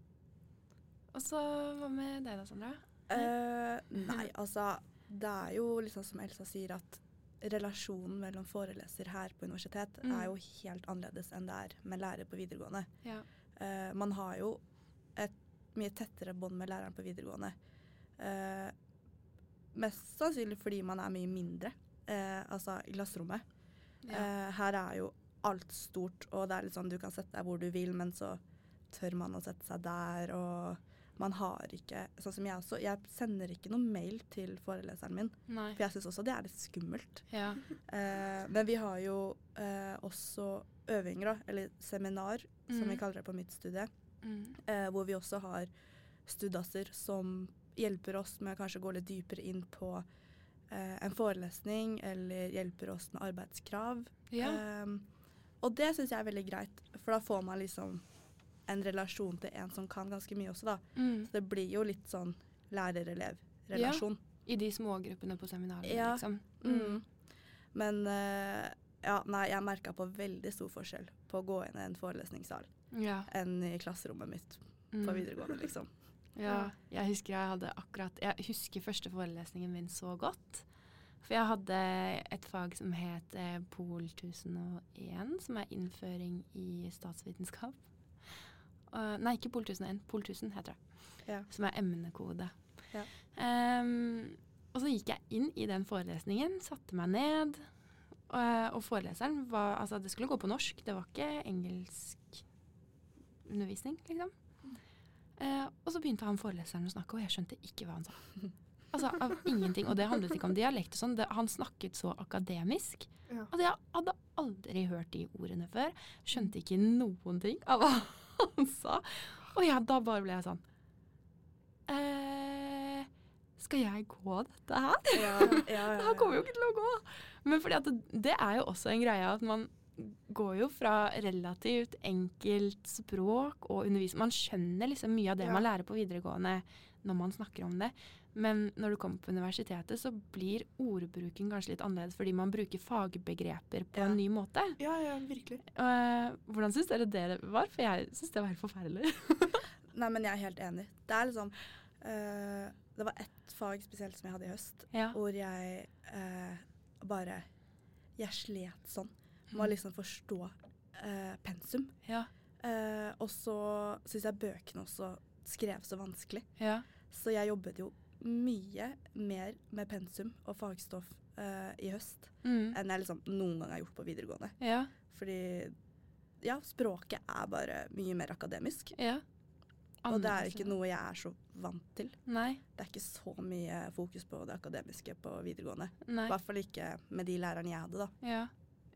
A: Og så hva med deg da, Sandra?
C: Eh, nei, altså Det er jo litt sånn som Elsa sier, at relasjonen mellom foreleser her på universitet
A: Mm.
C: er jo helt annerledes enn det er med lærer på videregående.
A: Ja.
C: Eh, man har jo et mye tettere bånd med læreren på videregående. Eh, mest sannsynlig fordi man er mye mindre, eh, altså i klasserommet. Eh, her er jo alt stort, og det er litt sånn du kan sette deg hvor du vil, men så tør man å sette seg der, og man har ikke Sånn som jeg også, jeg sender ikke noen mail til foreleseren min,
A: Nei.
C: for jeg syns også det er litt skummelt.
A: Ja.
C: Eh, men vi har jo eh, også øvinger, da, eller seminar, som vi
A: Mm.
C: kaller det på mitt studie,
A: Mm.
C: eh, hvor vi også har studasser som hjelper oss med å kanskje gå litt dypere inn på eh, en forelesning, eller hjelper oss med arbeidskrav.
A: Ja.
C: Ehm, og det syns jeg er veldig greit, for da får man liksom en relasjon til en som kan ganske mye også, da.
A: Mm.
C: Så det blir jo litt sånn lærer-elev-relasjon.
A: I de smågruppene på seminaret,
C: Ja.
A: liksom.
C: Mm. Men eh, ja, nei, jeg merka på veldig stor forskjell på å gå inn i en forelesningssal
A: Ja.
C: enn i klasserommet mitt
A: Mm.
C: på videregående, liksom.
A: Ja, jeg husker jeg hadde akkurat Jeg husker første forelesningen min så godt. For jeg hadde et fag som het eh, Pol 1001, som er innføring i statsvitenskap. Og- nei, ikke Pol 1001. Pol 1000 heter det.
C: Ja.
A: Som er emnekode.
C: Ja.
A: Ehm, og så gikk jeg inn i den forelesningen, satte meg ned, Eh, og foreleseren var Altså, det skulle gå på norsk, det var ikke engelsk undervisning, liksom. Eh, og så begynte han foreleseren å snakke, og jeg skjønte ikke hva han sa. Altså, av ingenting. Og det handlet ikke om dialekt og sånn. Det, han snakket så akademisk.
D: Ja.
A: Altså, jeg hadde aldri hørt de ordene før. Skjønte ikke noen ting av hva han sa. Og ja, da bare ble jeg sånn eh, Skal jeg gå dette her?
C: Ja, ja,
A: Det
C: ja,
A: her kommer jo ikke til å gå. Men fordi at det, det er jo også en greie at man går jo fra relativt enkelt språk og undervisning. Man skjønner liksom mye av det
D: Ja.
A: man lærer på videregående når man snakker om det. Men når du kommer på universitetet, så blir ordbruken kanskje litt annerledes fordi man bruker fagbegreper på
C: Ja.
A: en ny måte.
D: Ja, ja, virkelig.
A: Eh, hvordan syns dere det var? For jeg syns det var helt forferdelig.
C: Nei, men jeg er helt enig. Det er liksom eh, Det var ett fag spesielt som jeg hadde i høst,
A: Ja.
C: hvor jeg eh, bare Jeg slet sånn med å liksom forstå eh, pensum.
A: Ja.
C: Eh, og så syns jeg bøkene også skrev så vanskelig.
A: ja.
C: Så jeg jobbet jo mye mer med pensum og fagstoff eh, i høst
A: Mm.
C: enn jeg liksom noen gang har gjort på videregående.
A: ja.
C: Fordi ja, språket er bare mye mer akademisk.
A: Ja.
C: Og det er
A: Annerledes,
C: ikke
A: ja.
C: noe jeg er så vant til.
A: Nei.
C: Det er ikke så mye fokus på det akademiske på videregående. I
A: Nei.
C: hvert fall ikke med de lærerne jeg hadde, da.
A: Ja.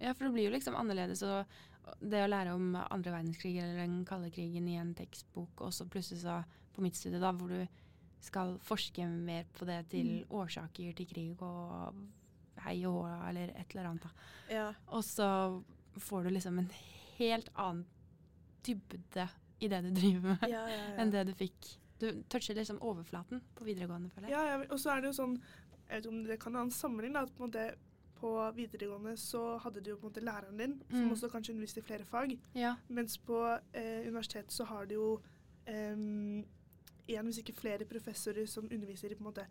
A: ja, for det blir jo liksom annerledes. Og og det å lære om andre verdenskrig eller den kalde krigen i en tekstbok, og så plutselig så på mitt studie, da, hvor du skal forske mer på det til årsaker til krig og hei og hå, eller et eller annet. da.
C: Ja,
A: Og så får du liksom en helt annen dybde i det du driver med,
C: ja, ja.
A: enn det du fikk. Du toucher liksom overflaten på videregående, føler jeg.
D: Ja, ja, og så er det jo sånn Jeg vet ikke om det kan ha en sammenheng, da. At på, en måte, på videregående så hadde du jo på en måte læreren din, som
A: Mm.
D: også kanskje underviste i flere fag.
A: Ja.
D: Mens på eh, universitetet så har du jo én, hvis ikke flere, professorer som underviser i på en måte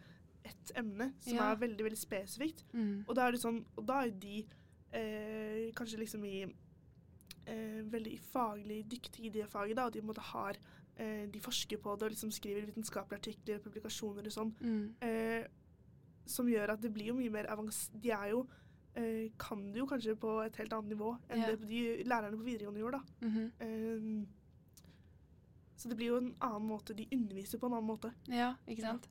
D: ett emne, som
A: Ja.
D: er veldig, veldig spesifikt.
A: Mm.
D: Og da er det sånn, og da er jo de eh, kanskje liksom i eh, veldig faglig dyktige i det faget, da, og de på en måte har eh, de forsker på det og liksom skriver vitenskapelige artikler og publikasjoner og sånn,
A: Mm.
D: eh, som gjør at det blir jo mye mer avans... De er jo eh, kan det jo kanskje på et helt annet nivå enn
A: Ja.
D: det de lærerne på videregående gjorde, da.
A: Mhm.
D: Eh, så det blir jo en annen måte. De underviser på en annen måte.
A: Ja, ikke sant?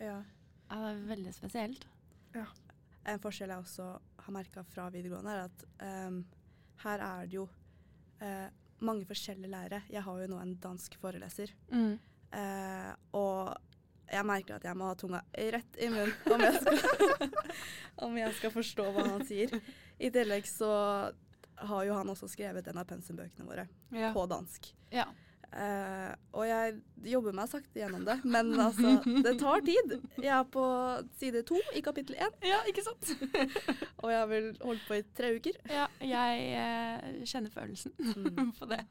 C: ja.
A: Ja, det er veldig spesielt.
C: En forskjell jeg også har merka fra videregående, er at ehm, her er det jo eh, mange forskjellige lærere. Jeg har jo nå en dansk foreleser,
A: Mm.
C: eh, og jeg merker at jeg må ha tunga rett i munnen om jeg skal, om jeg skal forstå hva han sier. I tillegg så har jo han også skrevet en av pensumbøkene våre
A: Ja.
C: på dansk.
A: Ja.
C: Eh, og jeg jobber meg sakte gjennom det, men altså, det tar tid. Jeg er på side to i kapittel én.
A: Ja, ikke sant?
C: Og jeg har vel holdt på i tre uker.
A: Ja, jeg eh, kjenner følelsen på det.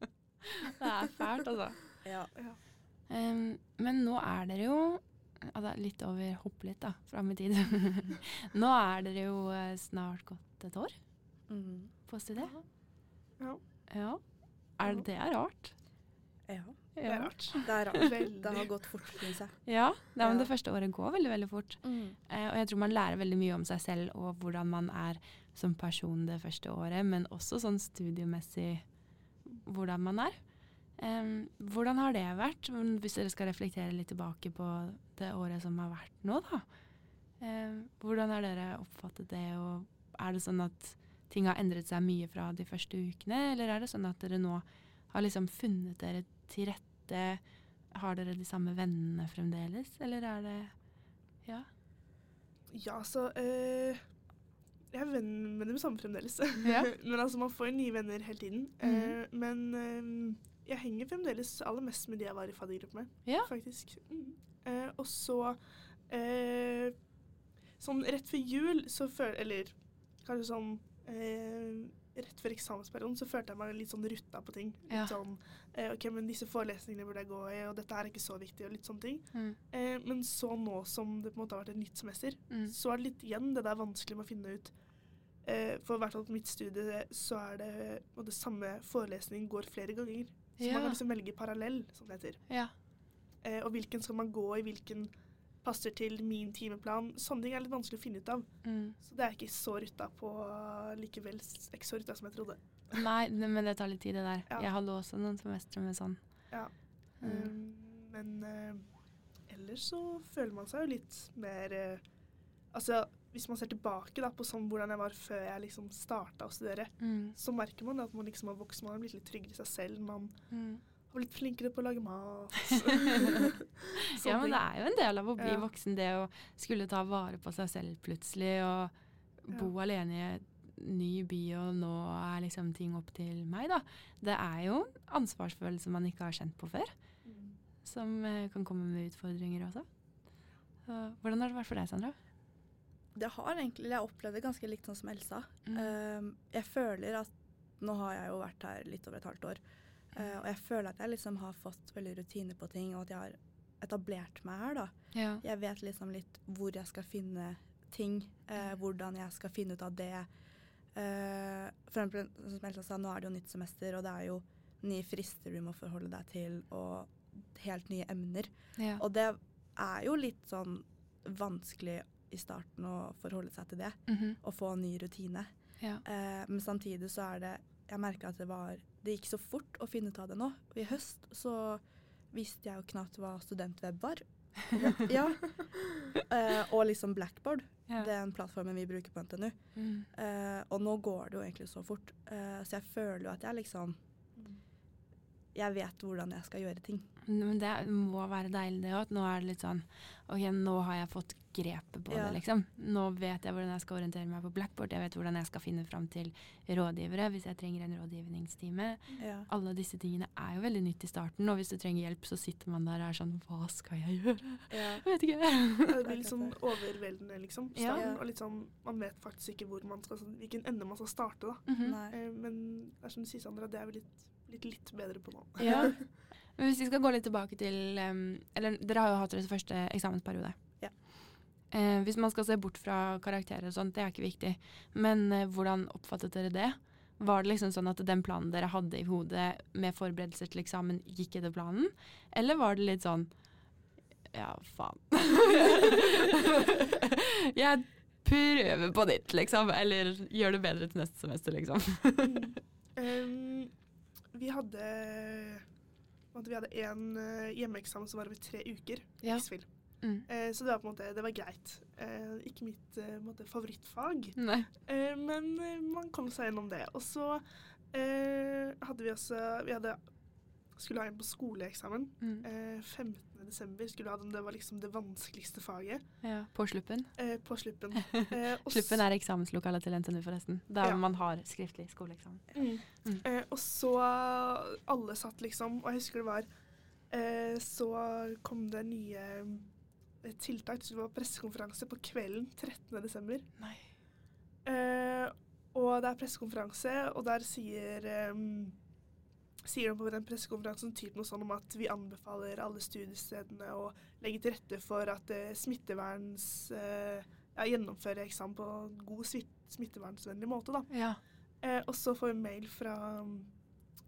A: Det er fælt, altså.
C: Ja.
A: Em, men nå er dere jo altså, Litt over hopp litt, da, fram i tid. nå er dere jo eh, snart gått et år på studiet.
D: Ja.
A: Ja. Er det, det er rart?
C: ja.
D: Det er rart.
C: Det er rart.
D: Veldig.
C: Det har gått fort, syns jeg.
A: Ja, nei, men
C: Ja.
A: Det første året går veldig veldig fort. Eh, og jeg tror man lærer veldig mye om seg selv og hvordan man er som person det første året, men også sånn studiemessig hvordan man er. Em, hvordan har det vært, Mm, hvis dere skal reflektere litt tilbake på det året som har vært nå, da? Em, hvordan har dere oppfattet det, og er det sånn at ting har endret seg mye fra de første ukene, eller er det sånn at dere nå har liksom funnet dere til rette? Har dere de samme vennene fremdeles, eller er det Ja.
D: Ja, så eh, Jeg er venn med dem samme fremdeles.
A: Ja. Mhm.
D: men altså, man får jo nye venner hele tiden. Eh, men eh, jeg henger fremdeles aller mest med de jeg var i faddergruppe med,
A: Ja.
D: faktisk. Mm. Eh, og så eh, Sånn rett før jul så føler Eller kanskje sånn eh, Rett før eksamensperioden så følte jeg meg litt sånn rutta på ting. Litt
A: Ja.
D: sånn eh, OK, men disse forelesningene burde jeg gå i, og dette her er ikke så viktig, og litt sånne ting.
A: Mm.
D: Eh, men så nå som det på en måte har vært et nytt semester,
A: Mm.
D: så er det litt igjen det der vanskelig med å finne ut. Eh, for i hvert fall på mitt studie så er det og det samme forelesning går flere ganger. Så
A: Ja.
D: man kan liksom velge parallell, som det heter.
A: Ja.
D: Eh, og hvilken skal man gå i, hvilken passer til min timeplan. Sånne ting er litt vanskelig å finne ut av.
A: Mm.
D: Så det er ikke så rutta på likevel. s- Ikke så rutta som jeg trodde.
A: Nei, ne- men det tar litt tid, det der.
D: Ja.
A: Jeg hadde også noen semestre med sånn.
D: Ja.
A: Mm.
D: Um, Men eh, ellers så føler man seg jo litt mer eh, Altså, hvis man ser tilbake da, på sånn hvordan jeg var før jeg liksom starta å studere,
A: Mm.
D: så merker man at man liksom har vokst, man har blitt litt tryggere i seg selv. Man
A: Mm.
D: har blitt flinkere på å lage mat.
A: Ja, men det er jo en del av å bli
D: Ja.
A: voksen, det å skulle ta vare på seg selv plutselig, og bo alene i en ny by, og nå er liksom ting opp til meg, da. Det er jo en ansvarsfølelse man ikke har kjent på før, som eh, kan komme med utfordringer også. Så, hvordan har det vært for deg, Sandra?
C: Det har egentlig, Jeg opplevde det ganske likt sånn som Elsa. Um, jeg føler at Nå har jeg jo vært her litt over et halvt år. eh, og jeg føler at jeg liksom har fått veldig rutine på ting, og at jeg har etablert meg her. da.
A: ja.
C: Jeg vet liksom litt hvor jeg skal finne ting, eh, hvordan jeg skal finne ut av det. Eh, for eksempel, som Elsa sa, nå er det jo nytt semester, og det er jo nye frister du må forholde deg til, og helt nye emner.
A: ja.
C: Og det er jo litt sånn vanskelig i starten å forholde seg til det,
A: Mhm.
C: og få en ny rutine.
A: ja.
C: Eh, men samtidig så er det Jeg merka at det var Det gikk så fort å finne ut av det nå. I høst så visste jeg jo knapt hva studentweb var. ja. Eh, og liksom Blackboard.
A: Ja.
C: Den plattformen vi bruker på NTNU.
A: Mm.
C: Eh, og nå går det jo egentlig så fort. Eh, så jeg føler jo at jeg liksom Jeg vet hvordan jeg skal gjøre ting.
A: Men det må være deilig det òg, at nå er det litt sånn OK, nå har jeg fått grepet på
C: Ja.
A: det, liksom. Nå vet jeg hvordan jeg skal orientere meg på blackboard, jeg vet hvordan jeg skal finne fram til rådgivere hvis jeg trenger en rådgivningstime.
C: Ja.
A: Alle disse tingene er jo veldig nytt i starten, og hvis du trenger hjelp, så sitter man der og er sånn Hva skal jeg gjøre?
C: Ja.
A: Jeg vet ikke.
D: Det blir litt sånn overveldende, liksom. på
A: Ja.
D: Starten, Og litt sånn, man vet faktisk ikke hvor man skal, sånn, hvilken ende man skal starte, da.
A: Mhm.
C: Nei.
D: Eh, Men det er som du sier, Sandra, det er vi litt, litt, litt bedre på nå.
A: Ja. Men hvis vi skal gå litt tilbake til em, Eller dere har jo hatt deres første eksamensperiode.
C: Ja.
A: Eh, hvis man skal se bort fra karakterer og sånt, det er ikke viktig. Men eh, hvordan oppfattet dere det? Var det liksom sånn at den planen dere hadde i hodet med forberedelser til eksamen, gikk etter planen? Eller var det litt sånn Ja, faen. Jeg prøver på nytt, liksom. Eller gjør det bedre til neste semester, liksom.
D: Um, vi hadde på en måte, Vi hadde en eh, hjemmeeksamen som var over tre uker.
A: Ja.
D: Riksfil.
A: Mm.
D: Eh, så det var på en måte, det var greit. Eh, ikke mitt eh, på en måte, favorittfag,
A: Nei.
D: eh, men eh, man kom seg gjennom det. Og så eh, hadde vi også Vi hadde, skulle ha en på skoleeksamen.
A: Mm.
D: Eh, 15.12. skulle vi ha den. Det var liksom det vanskeligste faget.
A: Ja. På sluppen.
D: Eh, på sluppen. Eh, og
A: Sluppen er eksamenslokalet til NTNU, forresten. Der
D: Ja.
A: man har skriftlig skoleeksamen. Mm.
D: Eh, og så Alle satt liksom, og jeg husker det var eh, Så kom det nye eh, tiltak. Det skulle være pressekonferanse på kvelden 13.12.
A: Nei.
D: Eh, og det er pressekonferanse, og der sier eh, Sier de på den pressekonferansen typ noe sånn om at vi anbefaler alle studiestedene å legge til rette for at eh, smitteverns... Eh, ja, gjennomføre eksamen på en god smitt- smittevernsvennlig måte, da.
A: Ja.
D: Eh, og så får vi mail fra um,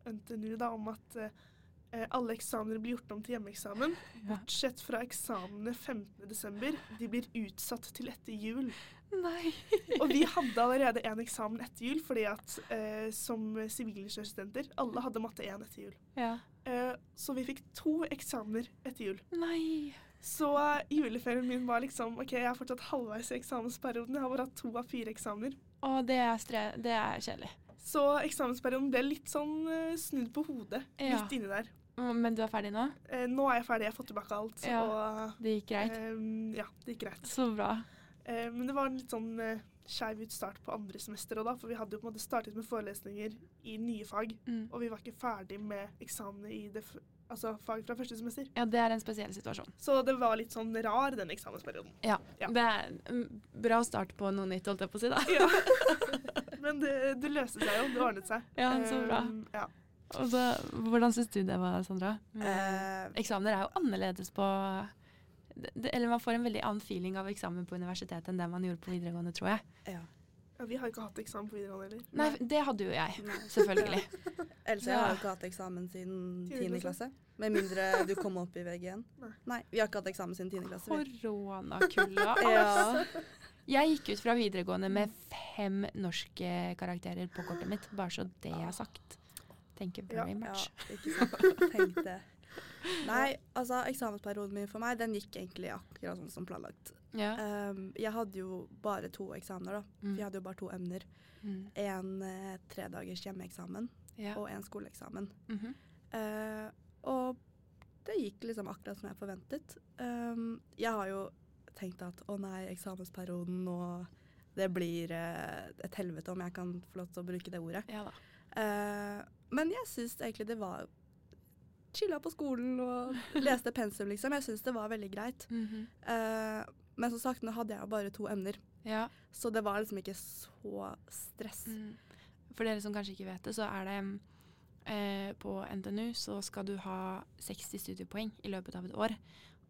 D: NTNU da, om at eh, eh, alle eksamener blir gjort om til hjemmeeksamen. Bortsett fra eksamenene 15.12. De blir utsatt til etter jul.
A: Nei.
D: Og vi hadde allerede en eksamen etter jul, fordi at eh, som sivilingeniørstudenter alle hadde matte 1 etter jul.
A: Ja.
D: Eh, så vi fikk to eksamener etter jul.
A: Nei.
D: Så eh, juleferien min var liksom OK, jeg er fortsatt halvveis i eksamensperioden. Jeg har bare hatt to av fire eksamener.
A: Å, det er, stre det er kjedelig.
D: Så eksamensperioden ble litt sånn eh, snudd på hodet
A: Ja.
D: midt inni der.
A: Men du er ferdig nå?
D: Eh, nå er jeg ferdig, jeg har fått tilbake alt.
A: Ja,
D: og
A: Det gikk greit?
D: ehm, ja, det gikk greit.
A: Så bra.
D: Eh, men det var en litt sånn uh, skeiv utstart på andre semester òg, da. For vi hadde jo på en måte startet med forelesninger i nye fag,
A: Mm.
D: og vi var ikke ferdig med eksamene i det f altså fag fra første semester.
A: Ja, det er en spesiell situasjon.
D: Så det var litt sånn rar, den eksamensperioden.
A: Ja.
D: Ja.
A: Det er en bra start på noe nytt, holdt jeg på å si, da.
D: Ja. men det, det løste seg jo, det ordnet seg.
A: Ja, så bra.
D: Ehm, ja.
A: Og så, hvordan syns du det var, Sandra?
C: Eh,
A: Eksamener er jo annerledes på det, Eller man får en veldig annen feeling av eksamen på universitetet enn det man gjorde på videregående, tror jeg.
C: ja.
D: Ja, vi har ikke hatt eksamen på videregående heller.
A: Nei, det hadde jo jeg. Selvfølgelig.
C: Ellers jeg har
A: Ja.
C: jo ikke hatt eksamen siden
D: Tiende
C: 10. klasse. Med mindre du kom opp i VG1.
D: Nei.
C: Nei, vi har ikke hatt eksamen siden 10. klasse. Altså, vi.
A: Koronakulda. altså.
C: Ja.
A: Jeg gikk ut fra videregående med fem norske karakterer på kortet mitt, bare så det er sagt. Thank you very
D: Ja,
C: Ja,
A: much.
C: ikke sant. Tenk det. Nei, altså eksamensperioden min for meg, den gikk egentlig akkurat sånn som planlagt.
A: Ja.
C: Ehm, jeg hadde jo bare to eksamener, da.
A: Mm.
C: Vi hadde jo bare to emner.
A: Mm.
C: En eh, tredagers hjemmeeksamen
A: ja.
C: og en skoleeksamen.
A: Mhm.
C: Eh, og det gikk liksom akkurat som jeg forventet. Ehm, jeg har jo tenkt at å nei, eksamensperioden og det blir eh, et helvete om jeg kan få lov til å bruke det ordet.
A: ja da.
C: Eh, men jeg syns egentlig det var Chilla på skolen og leste pensum, liksom. Jeg syns det var veldig greit.
A: Mhm.
C: Eh, men som sagt, nå hadde jeg jo bare to emner,
A: Ja.
C: så det var liksom ikke så stress.
A: Mm. For dere som kanskje ikke vet det, så er det mm, eh, på NTNU så skal du ha 60 studiepoeng i løpet av et år.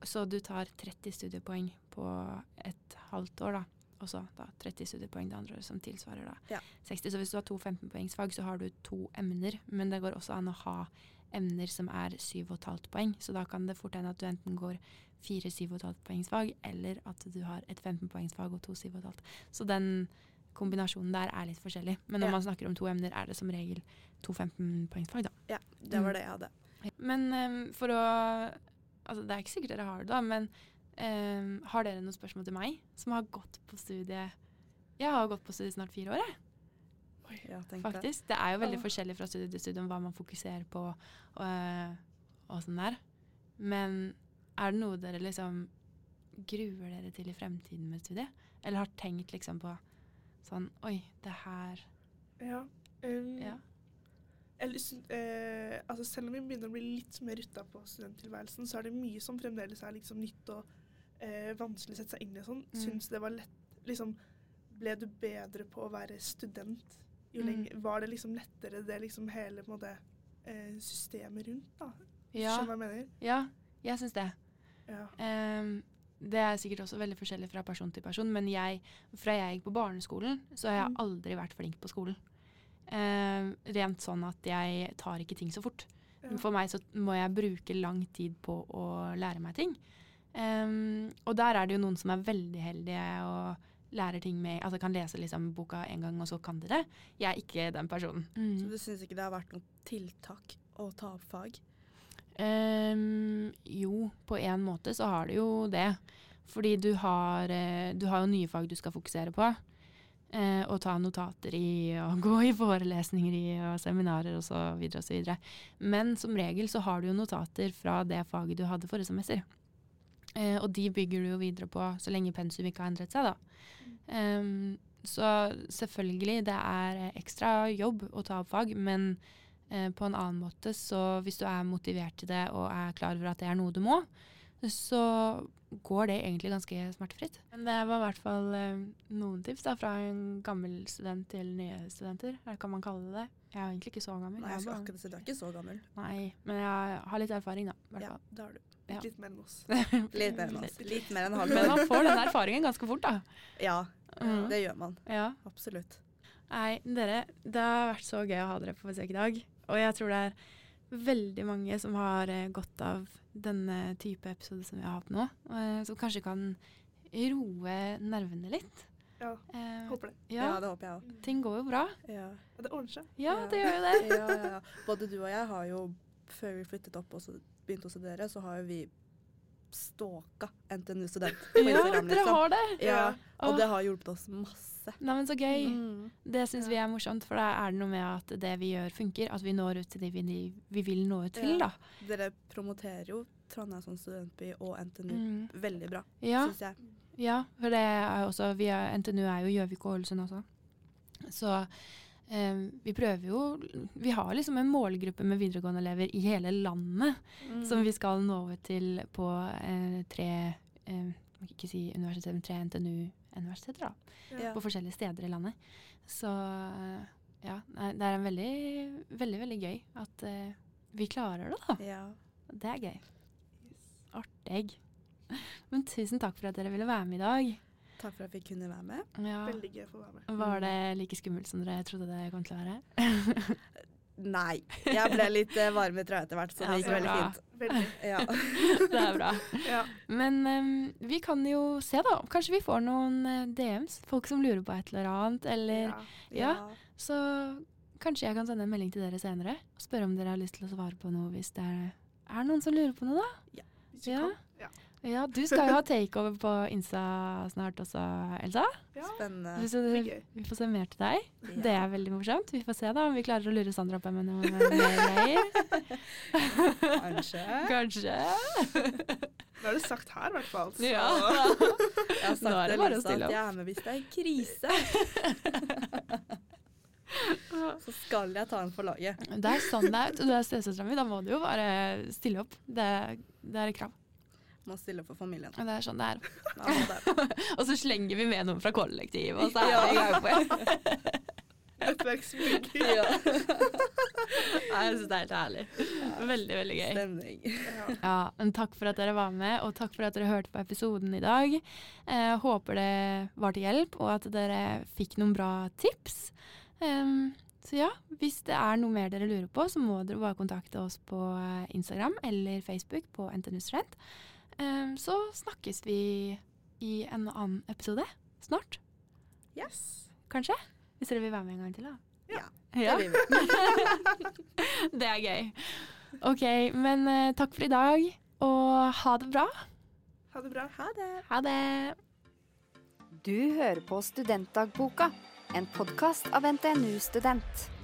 A: Så du tar 30 studiepoeng på et halvt år, da. Og så da 30 studiepoeng det andre året, som tilsvarer da
C: Ja.
A: 60. Så hvis du har to 15-poengsfag, så har du to emner. Men det går også an å ha emner som er 7,5 poeng, så da kan det fort hende at du enten går fire 7,5-poengsfag, eller at du har et 15-poengsfag og to 7,5. Så den kombinasjonen der er litt forskjellig. Men når
C: Ja.
A: man snakker om to emner, er det som regel to 15-poengsfag, da.
C: Ja, det
A: Mm.
C: var det jeg hadde.
A: Men em, for å Altså, det er ikke sikkert dere har det, da, men em, har dere noen spørsmål til meg som har gått på studiet Jeg har gått på studiet snart fire år, jeg,
C: Ja, tenk det.
A: faktisk. Det er jo veldig
D: Ja.
A: forskjellig fra studie til studie om hva man fokuserer på og, eh, og sånn der. Men er det noe dere liksom gruer dere til i fremtiden med studiet? Eller har tenkt liksom på sånn Oi, det her
D: Ja. Um,
A: Ja.
D: Eller, syn- eh, altså selv om vi begynner å bli litt mer rutta på studenttilværelsen, så er det mye som fremdeles er liksom nytt og eh, vanskelig å sette seg inn i. og sånn.
A: Mm.
D: Syns det var lett liksom, Ble du bedre på å være student? Jo
A: Mm.
D: lenge, var det liksom lettere, det liksom hele på en måte, eh, systemet rundt? da?
A: Ja,
D: Skjønner du hva jeg mener?
A: ja jeg syns det.
D: Ja.
A: Ehm, det er sikkert også veldig forskjellig fra person til person, men jeg, fra jeg gikk på barneskolen, så har jeg
D: Mm.
A: aldri vært flink på skolen. Ehm, rent sånn at jeg tar ikke ting så fort.
D: Ja.
A: For meg så må jeg bruke lang tid på å lære meg ting. Ehm, og der er det jo noen som er veldig heldige og lærer ting med Altså kan lese liksom boka en gang, og så kan de det. Jeg er ikke den personen.
D: Mm.
C: Så du syns ikke det har vært noe tiltak å ta opp fag?
A: Ehm, jo, på en måte så har du jo det. Fordi du har, eh, du har jo nye fag du skal fokusere på. eh, og ta notater i, og gå i forelesninger i, og seminarer og så videre og så videre. Men som regel så har du jo notater fra det faget du hadde forrige semester. Eh, og de bygger du jo videre på så lenge pensum ikke har endret seg, da. Ehm, så selvfølgelig, det er eh, ekstra jobb å ta opp fag, men eh, på en annen måte. Så hvis du er motivert til det og er klar over at det er noe du må, så går det egentlig ganske smertefritt. Men det var i hvert fall eh, noen tips da, fra en gammel student til nye studenter. Eller kan man kalle det det? Jeg er egentlig ikke så gammel.
C: Nei, jeg
A: jeg er
C: skulle
A: bare-
C: akkurat si du er ikke så gammel.
A: Nei, men jeg har litt erfaring, da. i hvert
C: Ja,
A: fall.
C: det har du.
A: Ja.
D: Litt mer enn oss.
C: Litt mer enn oss. Litt mer enn halv.
A: Men man får den erfaringen ganske fort, da.
C: Ja,
A: Mhm.
C: det gjør man.
A: Ja.
C: Absolutt.
A: Nei, dere, det har vært så gøy å ha dere på besøk i dag. Og jeg tror det er veldig mange som har eh, godt av denne type episode som vi har hatt nå. eh, Som kanskje kan roe nervene litt.
D: Ja,
A: Eh,
D: håper det.
A: ja,
C: Ja,
A: Mm.
C: det håper jeg òg.
A: ting går jo bra.
C: Ja.
D: Ja, det ordner seg.
A: Ja,
C: Ja.
A: det gjør jo det.
C: Ja, ja, ja. Både du og jeg har jo, før vi flyttet opp og så begynte å studere, så har jo vi stalka NTNU Student på
A: Ja,
C: Instagram,
A: dere
C: liksom.
A: har det.
C: Ja,
A: Åh.
C: og det har hjulpet oss masse.
A: Nei, men så gøy.
C: Mm.
A: Det syns vi er morsomt, for da er det noe med at det vi gjør, funker. At vi når ut til de vi, vi vil nå ut til,
C: Ja.
A: da.
C: Dere promoterer jo Trondheim som studentby og NTNU
A: Mm.
C: veldig bra,
A: Ja.
C: syns jeg.
A: Ja, for det er jo også vi er, NTNU er jo Gjøvik og Ålesund også. Så eh, vi prøver jo Vi har liksom en målgruppe med videregående elever i hele landet
C: Mm.
A: som vi skal nå ut til på eh, tre eh, jeg kan ikke si universiteter, men tre NTNU-universiteter, da.
C: ja.
A: På forskjellige steder i landet. Så eh, ja, nei, det er en veldig, veldig, veldig gøy at eh, vi klarer det, da.
C: ja.
A: Det er gøy. Artig. Men tusen takk for at dere ville være med i dag.
C: Takk for at vi kunne være med.
A: Ja.
D: Veldig gøy å få være med.
A: Var det like skummelt som dere trodde det kom til å være?
C: Nei. Jeg ble litt eh, varm i trøya etter hvert, så
A: Ja,
C: det gikk
D: så
C: veldig
A: bra.
C: fint.
D: Veldig.
C: Ja.
A: det er bra.
D: Ja.
A: Men em, vi kan jo se, da. Kanskje vi får noen eh, DMs. Folk som lurer på et eller annet. Eller,
D: Ja.
A: Ja. Så kanskje jeg kan sende en melding til dere senere og spørre om dere har lyst til å svare på noe hvis det er, er noen som lurer på noe, da.
D: Hvis vi
A: Ja.
D: kan. Ja.
A: Ja, du skal jo ha takeover på Insta snart også, Elsa.
D: ja.
C: Spennende.
A: Så
D: Det blir
A: du,
D: gøy.
A: vi får se mer til deg.
C: Ja.
A: Det er veldig morsomt. Vi får se da om vi klarer å lure Sandra opp med noen mer greier.
C: Kanskje.
A: Kanskje.
D: Nå er det sagt her, i hvert fall. så-
A: Ja.
C: Jeg
A: Nå er
C: har sagt
A: det bare
C: til
A: å
C: Lisa at
A: stille opp.
C: jeg er med hvis det er krise. Så skal jeg ta en for laget.
A: Det er sånn det er. Du er stesøstera mi, da må du jo bare stille opp. Det, det er et krav.
C: Må stille opp for familien.
A: Og Det er sånn det er.
C: Da må det.
A: Og så slenger vi med noen fra kollektivet, og så er vi i gang på igjen.
D: Nettverksmygler.
C: Ja.
A: Nei, Jeg syns det er helt herlig. Veldig, veldig gøy.
C: Stemning.
D: Ja.
A: Ja, men Takk for at dere var med, og takk for at dere hørte på episoden i dag. Eh, håper det var til hjelp, og at dere fikk noen bra tips. Em, så ja, hvis det er noe mer dere lurer på, så må dere bare kontakte oss på eh, Instagram eller Facebook på NTNU Student. Em, Ehm, så snakkes vi i en annen episode snart,
C: Yes.
A: kanskje? Hvis dere vil være med en gang til, da.
C: Ja,
A: Ja,
C: Det vil vi.
A: det er gøy. OK, men eh, takk for i dag, og ha det bra.
D: Ha det bra.
C: Ha det.
A: Ha det.
B: Du hører på Studentdagboka, en podkast av NTNU Student.